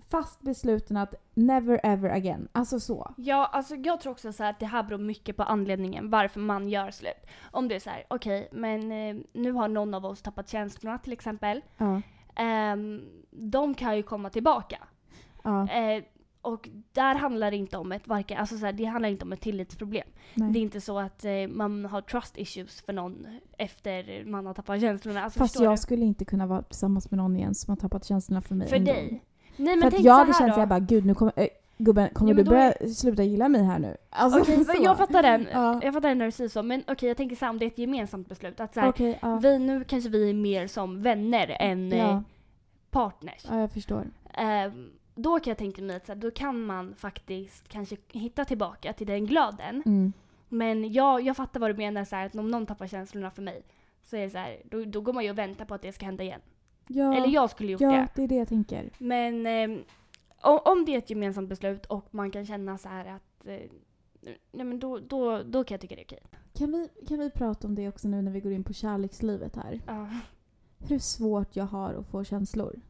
[SPEAKER 2] fast besluten att never ever again? Alltså så.
[SPEAKER 1] Ja, alltså jag tror också så här att det här beror mycket på anledningen varför man gör slut. Om det är så här, okej, men eh, nu har någon av oss tappat känslorna till exempel.
[SPEAKER 2] Ja.
[SPEAKER 1] Ehm, de kan ju komma tillbaka.
[SPEAKER 2] ja
[SPEAKER 1] Eh, och där handlar det inte om ett, varken, alltså så här, det handlar inte om ett tillitsproblem.
[SPEAKER 2] nej.
[SPEAKER 1] Det är inte så att eh, man har trust issues för någon efter man har tappat känslorna. Alltså,
[SPEAKER 2] Fast
[SPEAKER 1] förstår
[SPEAKER 2] jag
[SPEAKER 1] du?
[SPEAKER 2] skulle inte kunna vara tillsammans med någon igen som har tappat känslorna för mig.
[SPEAKER 1] För
[SPEAKER 2] en gång.
[SPEAKER 1] dig. Nej men
[SPEAKER 2] För att
[SPEAKER 1] tänk
[SPEAKER 2] jag
[SPEAKER 1] så
[SPEAKER 2] hade
[SPEAKER 1] här
[SPEAKER 2] känt
[SPEAKER 1] då.
[SPEAKER 2] såhär bara gud nu kommer, äh, gubben kommer
[SPEAKER 1] Ja, men
[SPEAKER 2] du
[SPEAKER 1] då
[SPEAKER 2] börja sluta gilla mig här nu? Alltså,
[SPEAKER 1] Okej,
[SPEAKER 2] så.
[SPEAKER 1] jag fattar den.
[SPEAKER 2] Ja.
[SPEAKER 1] Jag fattar den när du säger så. Men okej, jag tänker så här, om det är ett gemensamt beslut. Att så här,
[SPEAKER 2] Okej, ja.
[SPEAKER 1] Vi, nu kanske vi är mer som vänner än eh,
[SPEAKER 2] ja.
[SPEAKER 1] partners.
[SPEAKER 2] ja, jag förstår.
[SPEAKER 1] Ehm, då kan jag tänka mig att så här, då kan man faktiskt kanske hitta tillbaka till den glöden.
[SPEAKER 2] Mm.
[SPEAKER 1] Men jag, jag fattar vad du menar, så här, att om någon tappar känslorna för mig så är det så här, då, då går man ju och väntar på att det ska hända igen.
[SPEAKER 2] Ja,
[SPEAKER 1] Eller jag skulle gjort
[SPEAKER 2] ja,
[SPEAKER 1] det.
[SPEAKER 2] det är det jag tänker.
[SPEAKER 1] Men ehm, o- om det är ett gemensamt beslut och man kan känna så här att eh, nej men då, då, då kan jag tycka det är okej.
[SPEAKER 2] Kan vi, kan vi prata om det också nu när vi går in på kärlekslivet här?
[SPEAKER 1] Ja.
[SPEAKER 2] Hur svårt jag har att få känslor.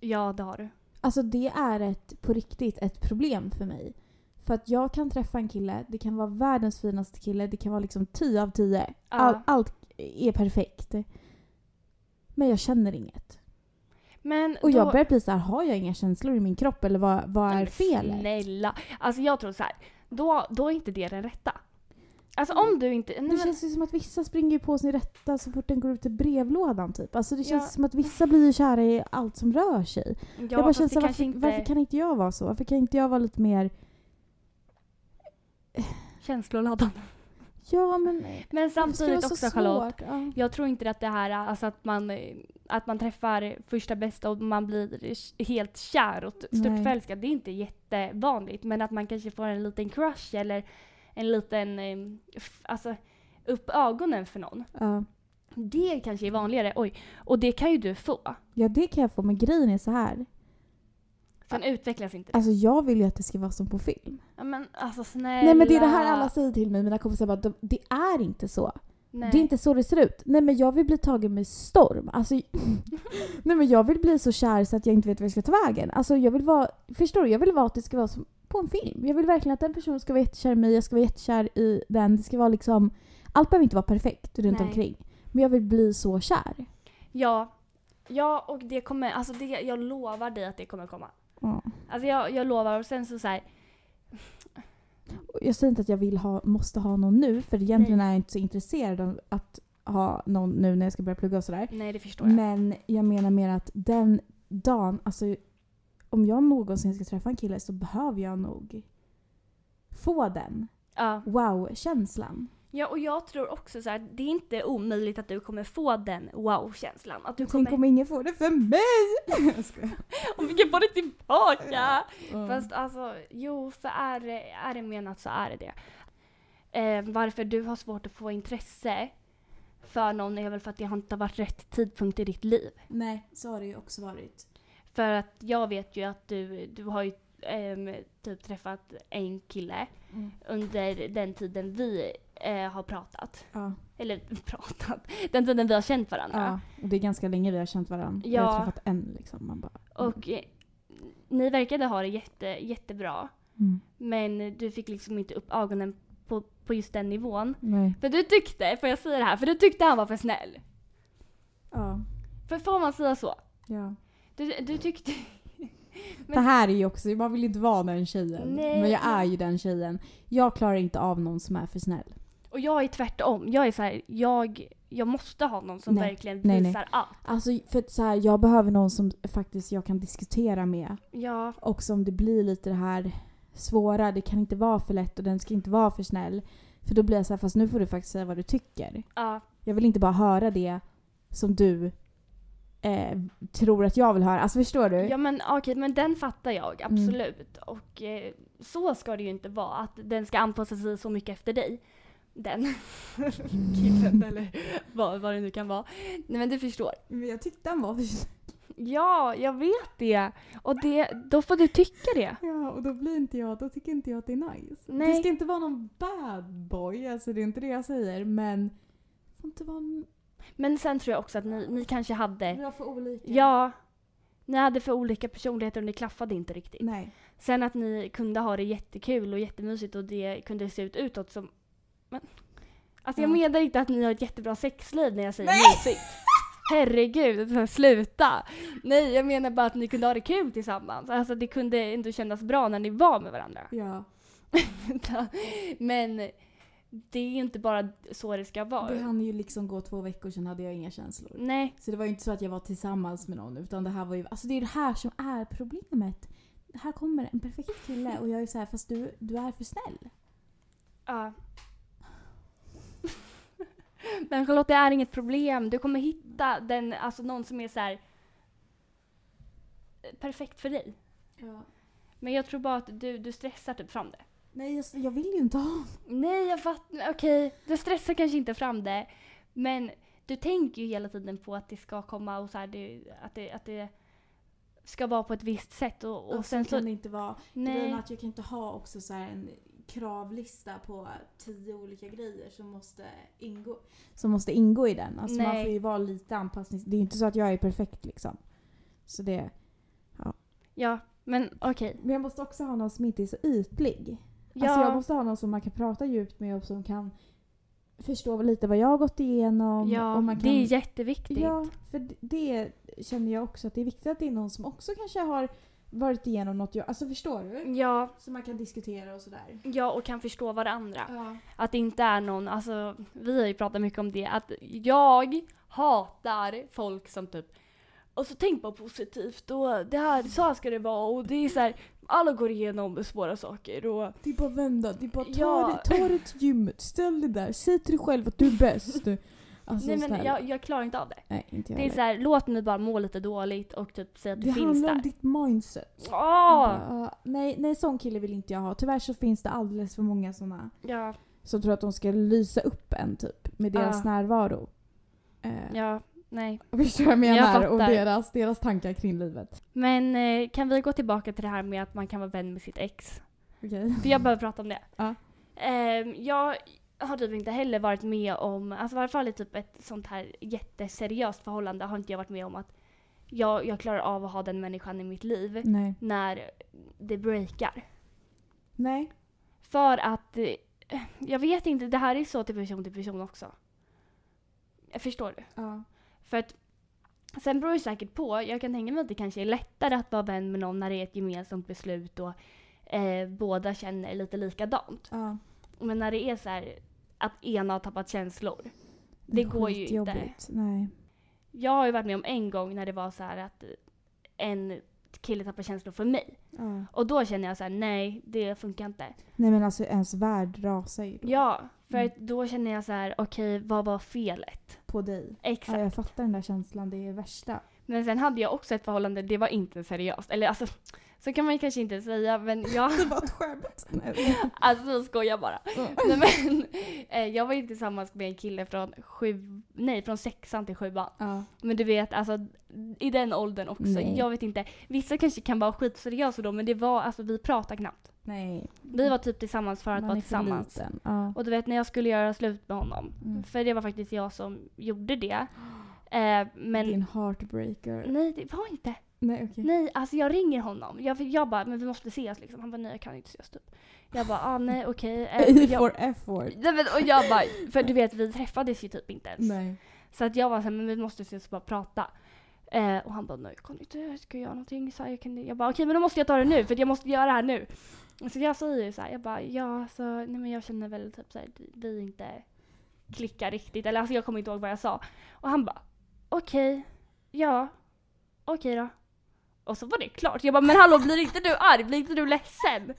[SPEAKER 1] Ja, det har du.
[SPEAKER 2] Alltså det är ett, på riktigt ett problem för mig. För att jag kan träffa en kille, det kan vara världens finaste kille, det kan vara liksom 10 av 10. All,
[SPEAKER 1] Ja.
[SPEAKER 2] allt är perfekt. Men jag känner inget.
[SPEAKER 1] Men
[SPEAKER 2] Och
[SPEAKER 1] då,
[SPEAKER 2] jag börjar bli såhär, har jag inga känslor i min kropp eller vad, vad
[SPEAKER 1] Nej,
[SPEAKER 2] är Liksom?
[SPEAKER 1] men
[SPEAKER 2] felet?
[SPEAKER 1] Snälla. Alltså jag tror så här. Då, då är inte det den rätta. Alltså om du inte... Nej,
[SPEAKER 2] Mm. Det
[SPEAKER 1] men,
[SPEAKER 2] känns ju som att vissa springer ju på sin rätta så fort den går ut i brevlådan typ. Alltså det känns
[SPEAKER 1] Ja.
[SPEAKER 2] som att vissa blir ju kära i allt som rör sig.
[SPEAKER 1] ja,
[SPEAKER 2] jag bara
[SPEAKER 1] fast
[SPEAKER 2] känner
[SPEAKER 1] det
[SPEAKER 2] såhär, varför,
[SPEAKER 1] kanske inte
[SPEAKER 2] varför kan inte jag vara så? Varför kan inte jag vara lite mer,
[SPEAKER 1] känsloladdande.
[SPEAKER 2] ja men...
[SPEAKER 1] Men
[SPEAKER 2] varför ska det
[SPEAKER 1] samtidigt
[SPEAKER 2] vara så
[SPEAKER 1] också Charlotte.
[SPEAKER 2] svårt? Ja.
[SPEAKER 1] Jag tror inte att det här, alltså att man, eh, att man träffar första bästa och man blir helt kär och
[SPEAKER 2] Nej.
[SPEAKER 1] störtförälskad. Det är inte jättevanligt. Men att man kanske får en liten crush eller en liten, eh, f- alltså upp ögonen för någon.
[SPEAKER 2] Ja.
[SPEAKER 1] Det kanske är vanligare. Oj. Och det kan ju du få.
[SPEAKER 2] Ja, det kan jag få. Men grejen är så här.
[SPEAKER 1] Sen utvecklas inte det.
[SPEAKER 2] Alltså jag vill ju att det ska vara som på film.
[SPEAKER 1] Ja, men alltså snälla.
[SPEAKER 2] Nej men det är det här alla säger till mig, mina kompisar bara, "De- det är inte så.
[SPEAKER 1] Nej.
[SPEAKER 2] Det är inte så det ser ut. Nej men jag vill bli tagen med storm. Alltså, nej men jag vill bli så kär så att jag inte vet vart jag ska ta vägen. Alltså jag vill vara, förstår du? Jag vill vara att det ska vara som på en film. Jag vill verkligen att den personen ska vara jättekär i mig, jag ska vara jättekär i den. Det ska vara liksom, allt behöver inte vara perfekt runt
[SPEAKER 1] Nej.
[SPEAKER 2] omkring. Men jag vill bli så kär.
[SPEAKER 1] Ja. Ja, och det kommer, alltså det, jag lovar dig att det kommer komma.
[SPEAKER 2] Ja.
[SPEAKER 1] Alltså jag, jag lovar. Och sen så, så här,
[SPEAKER 2] Jag säger inte att jag vill ha, måste ha någon nu för egentligen
[SPEAKER 1] Nej.
[SPEAKER 2] är jag inte så intresserad av att ha någon nu när jag ska börja plugga och sådär.
[SPEAKER 1] nej det förstår jag.
[SPEAKER 2] Men jag menar mer att den dagen, alltså om jag någonsin ska träffa en kille så behöver jag nog få den
[SPEAKER 1] Ja.
[SPEAKER 2] wow-känslan.
[SPEAKER 1] Ja, och jag tror också så här, det är inte omöjligt att du kommer få den wow-känslan. Att du kommer,
[SPEAKER 2] Tänk om ingen får det för mig! Jag skojar.
[SPEAKER 1] om vi kan få det tillbaka!
[SPEAKER 2] Mm.
[SPEAKER 1] Fast alltså, jo, för är, det- är det menat så är det det. Eh, varför du har svårt att få intresse för någon är väl för att det har inte har varit rätt tidpunkt i ditt liv.
[SPEAKER 2] Nej, så har det ju också varit.
[SPEAKER 1] För att jag vet ju att du, du har ju ehm, typ träffat en kille under den tiden vi eh, har pratat.
[SPEAKER 2] Ja,
[SPEAKER 1] Eller pratat, den tiden vi har känt varandra.
[SPEAKER 2] ja. Och det är ganska länge vi har känt varandra. Jag
[SPEAKER 1] Ja.
[SPEAKER 2] har träffat en liksom. Man bara,
[SPEAKER 1] Och eh, ni verkade ha det jätte, jättebra.
[SPEAKER 2] mm.
[SPEAKER 1] Men du fick liksom inte upp ögonen på, på just den nivån.
[SPEAKER 2] Nej.
[SPEAKER 1] För du tyckte, får jag säga det här, för du tyckte han var för snäll.
[SPEAKER 2] Ja.
[SPEAKER 1] För får man säga så?
[SPEAKER 2] ja.
[SPEAKER 1] Du, du tyckte... Men-
[SPEAKER 2] det här är ju också, man vill inte vara den tjejen.
[SPEAKER 1] Nej.
[SPEAKER 2] Men jag är ju den tjejen. Jag klarar inte av någon som är för snäll.
[SPEAKER 1] Och jag är tvärtom. Jag är så här, jag, jag måste ha någon som
[SPEAKER 2] Nej.
[SPEAKER 1] verkligen
[SPEAKER 2] Nej, nej.
[SPEAKER 1] visar allt.
[SPEAKER 2] Alltså för att så här, jag behöver någon som faktiskt jag kan diskutera med.
[SPEAKER 1] Ja,
[SPEAKER 2] Och som det blir lite det här svåra, det kan inte vara för lätt och den ska inte vara för snäll. För då blir jag så här, fast nu får du faktiskt säga vad du tycker.
[SPEAKER 1] ja,
[SPEAKER 2] Jag vill inte bara höra det som du eh, tror att jag vill höra. Alltså förstår du?
[SPEAKER 1] ja men okej, men den fattar jag absolut. Och eh, så ska det ju inte vara, att den ska anpassa sig så mycket efter dig. Den killen eller vad, vad det nu kan vara. Nej men du förstår.
[SPEAKER 2] Men jag tyckte han var för snäll.
[SPEAKER 1] Ja, jag vet det. Och det, då får du tycka det.
[SPEAKER 2] Ja, och då blir inte jag, då tycker inte jag att det är nice.
[SPEAKER 1] Nej.
[SPEAKER 2] Det ska inte vara någon bad boy, alltså det är inte det jag säger, men det får inte vara... en-
[SPEAKER 1] Men sen tror jag också att ni, ni kanske
[SPEAKER 2] Vi
[SPEAKER 1] hade,
[SPEAKER 2] har för olika.
[SPEAKER 1] ja, ni hade för olika personligheter och ni klaffade inte riktigt.
[SPEAKER 2] Nej.
[SPEAKER 1] Sen att ni kunde ha det jättekul och jättemysigt och det kunde se ut utåt som... Men, alltså jag
[SPEAKER 2] Ja.
[SPEAKER 1] menar inte att ni har ett jättebra sexliv när jag säger
[SPEAKER 2] Nej!
[SPEAKER 1] mysigt. Herregud, sluta! Nej, jag menar bara att ni kunde ha det kul tillsammans. Alltså det kunde ändå kännas bra när ni var med varandra.
[SPEAKER 2] Ja.
[SPEAKER 1] Men det är ju inte bara så det ska vara.
[SPEAKER 2] Det hann ju liksom gå två veckor sedan hade jag inga känslor.
[SPEAKER 1] Nej,
[SPEAKER 2] Så det var ju inte så att jag var tillsammans med någon utan det här var ju, alltså det är det här som är problemet. Här kommer en perfekt kille och jag är så här, fast du, du är för snäll.
[SPEAKER 1] ja. Men Charlotte, det är inget problem. Du kommer hitta den, alltså någon som är så här eh, perfekt för dig. Men jag tror bara att du, du stressar typ fram det.
[SPEAKER 2] Nej, jag, jag vill ju inte ha
[SPEAKER 1] Nej, jag fattar. Okej, du stressar kanske inte fram det. Men du tänker ju hela tiden på att det ska komma och så här, det, att, det, att det ska vara på ett visst sätt och, och
[SPEAKER 2] Och
[SPEAKER 1] sen så...
[SPEAKER 2] kan det inte vara... Grejen är
[SPEAKER 1] Nej.
[SPEAKER 2] att jag kan inte ha också så här en kravlista på tio olika grejer som måste ingå, som måste ingå i den. Alltså man
[SPEAKER 1] Nej.
[SPEAKER 2] får ju vara lite anpassnings... Det är inte så att jag är perfekt liksom. Så det...
[SPEAKER 1] Ja, men okej.
[SPEAKER 2] Men jag måste också ha någon som inte är så ytlig.
[SPEAKER 1] Ja,
[SPEAKER 2] Alltså jag måste ha någon som man kan prata djupt med och som kan förstå lite vad jag har gått igenom.
[SPEAKER 1] ja
[SPEAKER 2] och man
[SPEAKER 1] det
[SPEAKER 2] kan...
[SPEAKER 1] är jätteviktigt.
[SPEAKER 2] Ja, för d- det känner jag också att det är viktigt att det är någon som också kanske har varit igenom något jag... Alltså förstår du?
[SPEAKER 1] Ja,
[SPEAKER 2] Som man kan diskutera och sådär.
[SPEAKER 1] ja, och kan förstå varandra.
[SPEAKER 2] Ja.
[SPEAKER 1] Att det inte är någon, alltså vi har ju pratat mycket om det, att jag hatar folk som typ och så tänk bara positivt och det här, så här ska det vara och det är så här, alla går igenom svåra saker och
[SPEAKER 2] Det är bara att vända, det är bara att ta,
[SPEAKER 1] Ja.
[SPEAKER 2] dig, ta dig till gymmet, ställ dig där, säg till dig själv att du är bäst. Alltså,
[SPEAKER 1] nej men
[SPEAKER 2] snälla.
[SPEAKER 1] jag, jag klarar inte av det.
[SPEAKER 2] Nej, inte
[SPEAKER 1] Det
[SPEAKER 2] jag
[SPEAKER 1] är
[SPEAKER 2] heller.
[SPEAKER 1] så här, låt mig bara må lite dåligt och typ säga att det,
[SPEAKER 2] det
[SPEAKER 1] finns
[SPEAKER 2] handlar om
[SPEAKER 1] där.
[SPEAKER 2] ditt mindset.
[SPEAKER 1] Åh!
[SPEAKER 2] Ja, nej, nej, sån kille vill inte jag ha. Tyvärr så finns det alldeles för många såna
[SPEAKER 1] Ja,
[SPEAKER 2] som tror att de ska lysa upp en typ med deras
[SPEAKER 1] Ja.
[SPEAKER 2] närvaro. Eh,
[SPEAKER 1] ja, nej.
[SPEAKER 2] Förstår vad jag menar?
[SPEAKER 1] Jag
[SPEAKER 2] och
[SPEAKER 1] fattar.
[SPEAKER 2] deras, deras tankar kring livet.
[SPEAKER 1] Men eh, kan vi gå tillbaka till det här med att man kan vara vän med sitt ex?
[SPEAKER 2] Okej.
[SPEAKER 1] För jag behöver prata om det.
[SPEAKER 2] Ja.
[SPEAKER 1] Ehm, jag har typ inte heller varit med om, alltså i varje fall i typ ett sånt här jätteseriöst förhållande har inte jag varit med om att jag, jag klarar av att ha den människan i mitt liv
[SPEAKER 2] Nej.
[SPEAKER 1] när det breakar.
[SPEAKER 2] Nej.
[SPEAKER 1] För att, eh, jag vet inte, det här är så till person till person också. Jag förstår du?
[SPEAKER 2] Ja.
[SPEAKER 1] För att sen beror det säkert på. Jag kan tänka mig att det kanske är lättare att vara vän med någon när det är ett gemensamt beslut och eh, båda känner lite likadant.
[SPEAKER 2] ja.
[SPEAKER 1] Men när det är så här att ena har tappat känslor. Det går ju inte.
[SPEAKER 2] skitjobbigt. Nej.
[SPEAKER 1] Jag har ju varit med om en gång när det var så här att en kille tappar känslor för mig.
[SPEAKER 2] Ja.
[SPEAKER 1] Och då känner jag så här: nej det funkar inte.
[SPEAKER 2] Nej men alltså ens värld rasar ju då
[SPEAKER 1] Ja, för
[SPEAKER 2] Mm.
[SPEAKER 1] att då känner jag så här: okej vad var felet?
[SPEAKER 2] på dig. Ja,
[SPEAKER 1] Exakt.
[SPEAKER 2] jag fattar den där känslan, det är det värsta.
[SPEAKER 1] Men sen hade jag också ett förhållande, det var inte seriöst. Eller alltså, så kan man ju kanske inte säga men jag...
[SPEAKER 2] Det var ett skämt. Nej.
[SPEAKER 1] Alltså jag skojar bara. Nej, men, eh, jag var ju tillsammans med en kille från sju, nej från sexan till sjuan.
[SPEAKER 2] Ja.
[SPEAKER 1] Men du vet alltså i den åldern också,
[SPEAKER 2] Nej.
[SPEAKER 1] jag vet inte. Vissa kanske kan vara skitseriösa då men det var alltså vi pratade knappt.
[SPEAKER 2] Nej.
[SPEAKER 1] Vi var typ tillsammans för att vara tillsammans.
[SPEAKER 2] liten. Ja.
[SPEAKER 1] Och du vet när jag skulle göra slut med honom,
[SPEAKER 2] Mm.
[SPEAKER 1] för det var faktiskt jag som gjorde det. Eh, men
[SPEAKER 2] Din heartbreaker.
[SPEAKER 1] nej det var inte.
[SPEAKER 2] Nej okej.
[SPEAKER 1] Mm. Nej, alltså jag ringer honom. Jag, jag bara, men vi måste ses liksom. Han bara, nej jag kan inte ses typ. Jag bara, ah nej okej. Eh,
[SPEAKER 2] A
[SPEAKER 1] jag-
[SPEAKER 2] for effort.
[SPEAKER 1] Nej, men, och jag bara, för du vet vi träffades ju typ inte ens.
[SPEAKER 2] Nej.
[SPEAKER 1] Så att jag var såhär, men vi måste ses och bara prata. Eh, och han bara, nej jag kan inte, jag ska göra någonting. Så här, jag, kan, jag bara, okej men då måste jag ta det nu för jag måste göra det här nu. Så jag säger ju såhär, jag bara, ja så, nej men jag känner väl typ såhär, vi inte klickar riktigt. Eller alltså jag kommer inte ihåg vad jag sa. Och han bara, okej, ja, okej då. Och så var det klart. Jag bara, men hallå blir inte du arg? Blir inte du ledsen?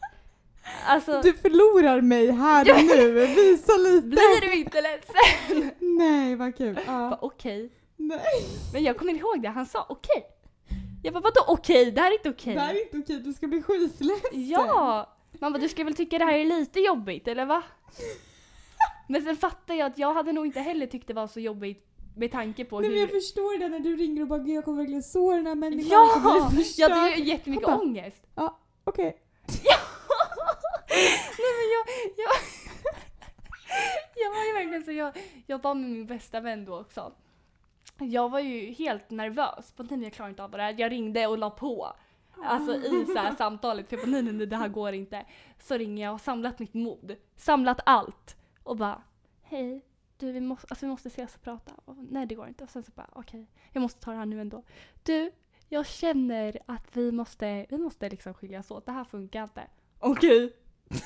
[SPEAKER 1] Alltså,
[SPEAKER 2] Du förlorar mig här
[SPEAKER 1] Ja.
[SPEAKER 2] och nu, visa lite!
[SPEAKER 1] blir du inte ledsen?
[SPEAKER 2] Nej vad kul!
[SPEAKER 1] Jag bara,
[SPEAKER 2] Ja.
[SPEAKER 1] okej.
[SPEAKER 2] Nej,
[SPEAKER 1] Men jag kommer inte ihåg det, han sa okej. Jag bara vadå okej, det här är inte okej.
[SPEAKER 2] det här är inte okej, du ska bli skitledsen!
[SPEAKER 1] Ja! Man bara du ska väl tycka det här är lite jobbigt eller va? Men sen fattar jag att jag hade nog inte heller tyckt det var så jobbigt med tanke på
[SPEAKER 2] Nej men jag
[SPEAKER 1] hur...
[SPEAKER 2] förstår det när du ringer och bara "Gud, jag kommer verkligen såra den här människan, jag
[SPEAKER 1] Ja!
[SPEAKER 2] kommer bli förstörd."
[SPEAKER 1] Jag hade ju jättemycket
[SPEAKER 2] Han bara-
[SPEAKER 1] ångest.
[SPEAKER 2] Okej.
[SPEAKER 1] Nej men jag... Jag, jag var ju verkligen så jag, jag var med min bästa vän då också. Jag var ju helt nervös. På tiden jag klarar inte av det här. Jag ringde och la på. Alltså i så här samtalet, för jag bara nej, nej nej det här går inte. Så ringer jag och har samlat mitt mod, samlat allt och bara hej, du vi måste, alltså, vi måste ses och prata. Och, nej det går inte. Och sen så bara okej, jag måste ta det här nu ändå. Du, jag känner att vi måste, vi måste liksom skiljas åt, det här funkar inte. Okej. Nej,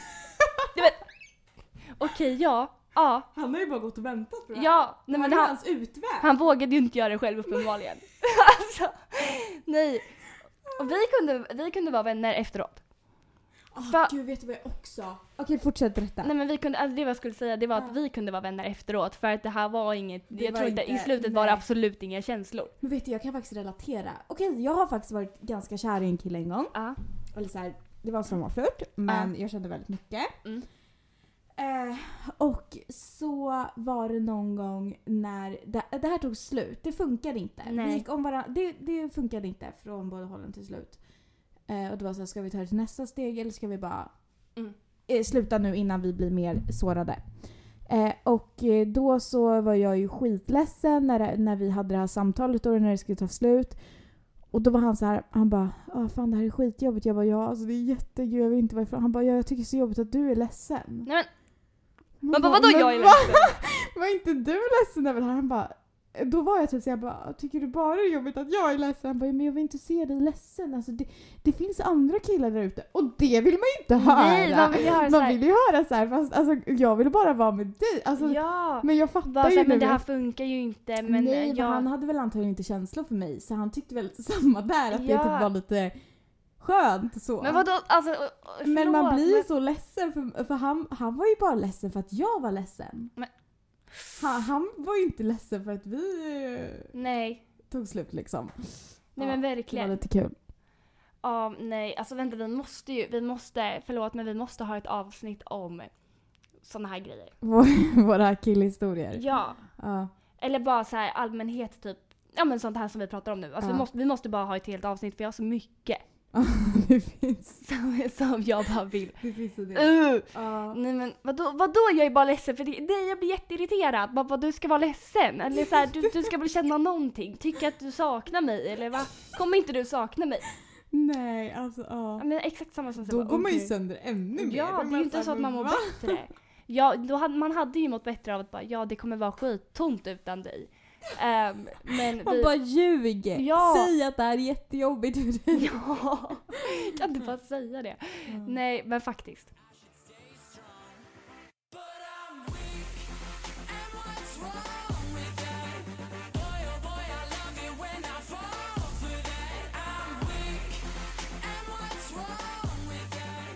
[SPEAKER 1] men- Okej ja, ja,
[SPEAKER 2] Han har ju bara gått och väntat på det här.
[SPEAKER 1] ja. Nej, men
[SPEAKER 2] det här är
[SPEAKER 1] han,
[SPEAKER 2] hans utväg.
[SPEAKER 1] han vågade ju inte göra det själv uppenbarligen. alltså, nej. Och vi kunde, vi kunde vara vänner efteråt.
[SPEAKER 2] Åh,
[SPEAKER 1] Va-
[SPEAKER 2] Ah, Gud, vet du vad jag också... Okej, fortsätt berätta.
[SPEAKER 1] Nej men vi kunde, alltså det jag skulle säga det var att
[SPEAKER 2] Ja.
[SPEAKER 1] vi kunde vara vänner efteråt för att det här var inget,
[SPEAKER 2] Det
[SPEAKER 1] jag
[SPEAKER 2] var
[SPEAKER 1] tror inte, i
[SPEAKER 2] inte-
[SPEAKER 1] slutet var det
[SPEAKER 2] nej.
[SPEAKER 1] absolut inga känslor.
[SPEAKER 2] Men vet du, jag kan faktiskt relatera. Okej, jag har faktiskt varit ganska kär i en kille en gång.
[SPEAKER 1] Ja.
[SPEAKER 2] Eller så här, det var en sommarflirt, men jag kände väldigt mycket.
[SPEAKER 1] Mm.
[SPEAKER 2] Eh, och så var det någon gång när det, det här tog slut. Det funkade inte.
[SPEAKER 1] Nej.
[SPEAKER 2] Vi gick om varandra. Det, det funkade inte från båda hållen till slut. Eh, och det var så här, ska vi ta det till nästa steg eller ska vi bara
[SPEAKER 1] Mm.
[SPEAKER 2] eh, sluta nu innan vi blir mer sårade? Eh, och eh, då så var jag ju skitledsen när, det- när vi hade det här samtalet och när det skulle ta slut. Och då var han så här, han bara ah, fan det här är skitjobbigt. Jag bara ja alltså det är jättejobbigt, jag vill inte vara ifrån. Han bara ja jag tycker det är så jobbigt att du är ledsen.
[SPEAKER 1] Nej men,
[SPEAKER 2] Man
[SPEAKER 1] man bara, vadå
[SPEAKER 2] "Men
[SPEAKER 1] jag är
[SPEAKER 2] va?
[SPEAKER 1] ledsen?
[SPEAKER 2] Var inte du ledsen över det här? Han bara, då var jag typ så jag bara, tycker du bara det är jobbigt att jag är ledsen? Han bara, men jag vill inte se dig ledsen. Alltså, det, det finns andra killar där ute och det vill man inte höra.
[SPEAKER 1] Nej, man vill ju höra så
[SPEAKER 2] man
[SPEAKER 1] här-
[SPEAKER 2] vill ju höra så här, fast alltså, jag vill bara vara med dig. Alltså,
[SPEAKER 1] Ja!
[SPEAKER 2] Men jag fattar
[SPEAKER 1] Bara
[SPEAKER 2] ju
[SPEAKER 1] såhär,
[SPEAKER 2] nu.
[SPEAKER 1] men det här funkar ju inte men eh,
[SPEAKER 2] Nej, men
[SPEAKER 1] jag...
[SPEAKER 2] han hade väl antagligen inte känslor för mig så han tyckte väl samma där, att det
[SPEAKER 1] Ja.
[SPEAKER 2] typ var lite skönt så.
[SPEAKER 1] Men vadå, alltså ö- ö- förlåt,
[SPEAKER 2] Men man blir ju så ledsen för, för han, han var ju bara ledsen för att jag var ledsen.
[SPEAKER 1] Men-
[SPEAKER 2] Han, han var ju inte ledsen för att vi eh,
[SPEAKER 1] Nej,
[SPEAKER 2] tog slut liksom.
[SPEAKER 1] nej
[SPEAKER 2] Ja,
[SPEAKER 1] men
[SPEAKER 2] Det var
[SPEAKER 1] verkligen.
[SPEAKER 2] lite kul.
[SPEAKER 1] Ja, nej, alltså vänta vi måste ju, vi måste, förlåt men vi måste ha ett avsnitt om såna här grejer.
[SPEAKER 2] Vår- Våra killhistorier.
[SPEAKER 1] Ja,
[SPEAKER 2] Ja.
[SPEAKER 1] eller bara så här allmänhet typ. Ja men sånt här som vi pratar om nu. Alltså,
[SPEAKER 2] Ja.
[SPEAKER 1] vi, måste, vi måste bara ha ett helt avsnitt för jag har så mycket
[SPEAKER 2] det finns.
[SPEAKER 1] som, som jag bara vill.
[SPEAKER 2] Det finns en del.
[SPEAKER 1] Uh!
[SPEAKER 2] Ja.
[SPEAKER 1] Nej men vadå, vadå jag är bara ledsen för det? Nej jag blir jätteirriterad. Vad, vad du ska vara ledsen? Eller så här, du, du ska väl känna någonting? Tycka att du saknar mig eller va? Kommer inte du sakna mig?
[SPEAKER 2] Nej, alltså
[SPEAKER 1] Ja,
[SPEAKER 2] ja.
[SPEAKER 1] men exakt samma som
[SPEAKER 2] Då
[SPEAKER 1] Sebbe.
[SPEAKER 2] går man ju
[SPEAKER 1] Okej.
[SPEAKER 2] sönder ännu mer. Då
[SPEAKER 1] Ja,
[SPEAKER 2] är
[SPEAKER 1] det är ju inte
[SPEAKER 2] här,
[SPEAKER 1] så att man
[SPEAKER 2] men
[SPEAKER 1] mår
[SPEAKER 2] va?
[SPEAKER 1] bättre. Ja, då hade, man hade ju mått bättre av att bara ja det kommer vara skittomt utan dig. Ehm, men
[SPEAKER 2] Han
[SPEAKER 1] vi...
[SPEAKER 2] bara ljuger.
[SPEAKER 1] Ja.
[SPEAKER 2] Säg att det här är jättejobbigt för dig.
[SPEAKER 1] Ja, kan du bara säga det?
[SPEAKER 2] Mm.
[SPEAKER 1] Nej men faktiskt.
[SPEAKER 4] But I'm weak, and what's wrong with that? Boy, oh boy, I love you when I fall for that. I'm weak, and what's wrong with that?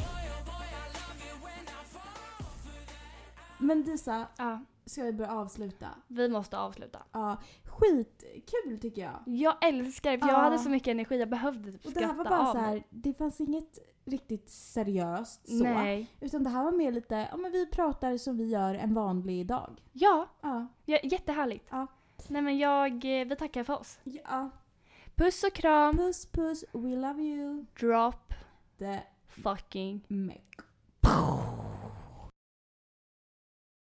[SPEAKER 4] Boy, oh boy, I love you when I fall for that.
[SPEAKER 2] Men Disa,
[SPEAKER 1] Ja,
[SPEAKER 2] ska vi börja avsluta?
[SPEAKER 1] vi måste avsluta.
[SPEAKER 2] Ja, skitkul tycker jag.
[SPEAKER 1] Jag älskar det för jag
[SPEAKER 2] Ja.
[SPEAKER 1] hade så mycket energi jag behövde typ
[SPEAKER 2] Och det här var
[SPEAKER 1] skratta
[SPEAKER 2] bara
[SPEAKER 1] av
[SPEAKER 2] så
[SPEAKER 1] mig.
[SPEAKER 2] här, det fanns inget riktigt seriöst så.
[SPEAKER 1] Nej.
[SPEAKER 2] Utan det här var mer lite, ja men vi pratar som vi gör en vanlig dag.
[SPEAKER 1] Ja,
[SPEAKER 2] Ja.
[SPEAKER 1] ja, jättehärligt.
[SPEAKER 2] Ja.
[SPEAKER 1] Nej men jag, eh, vi tackar för oss.
[SPEAKER 2] ja.
[SPEAKER 1] Puss och kram,
[SPEAKER 2] Puss puss, we love you.
[SPEAKER 1] drop
[SPEAKER 2] The
[SPEAKER 1] fucking
[SPEAKER 2] mech.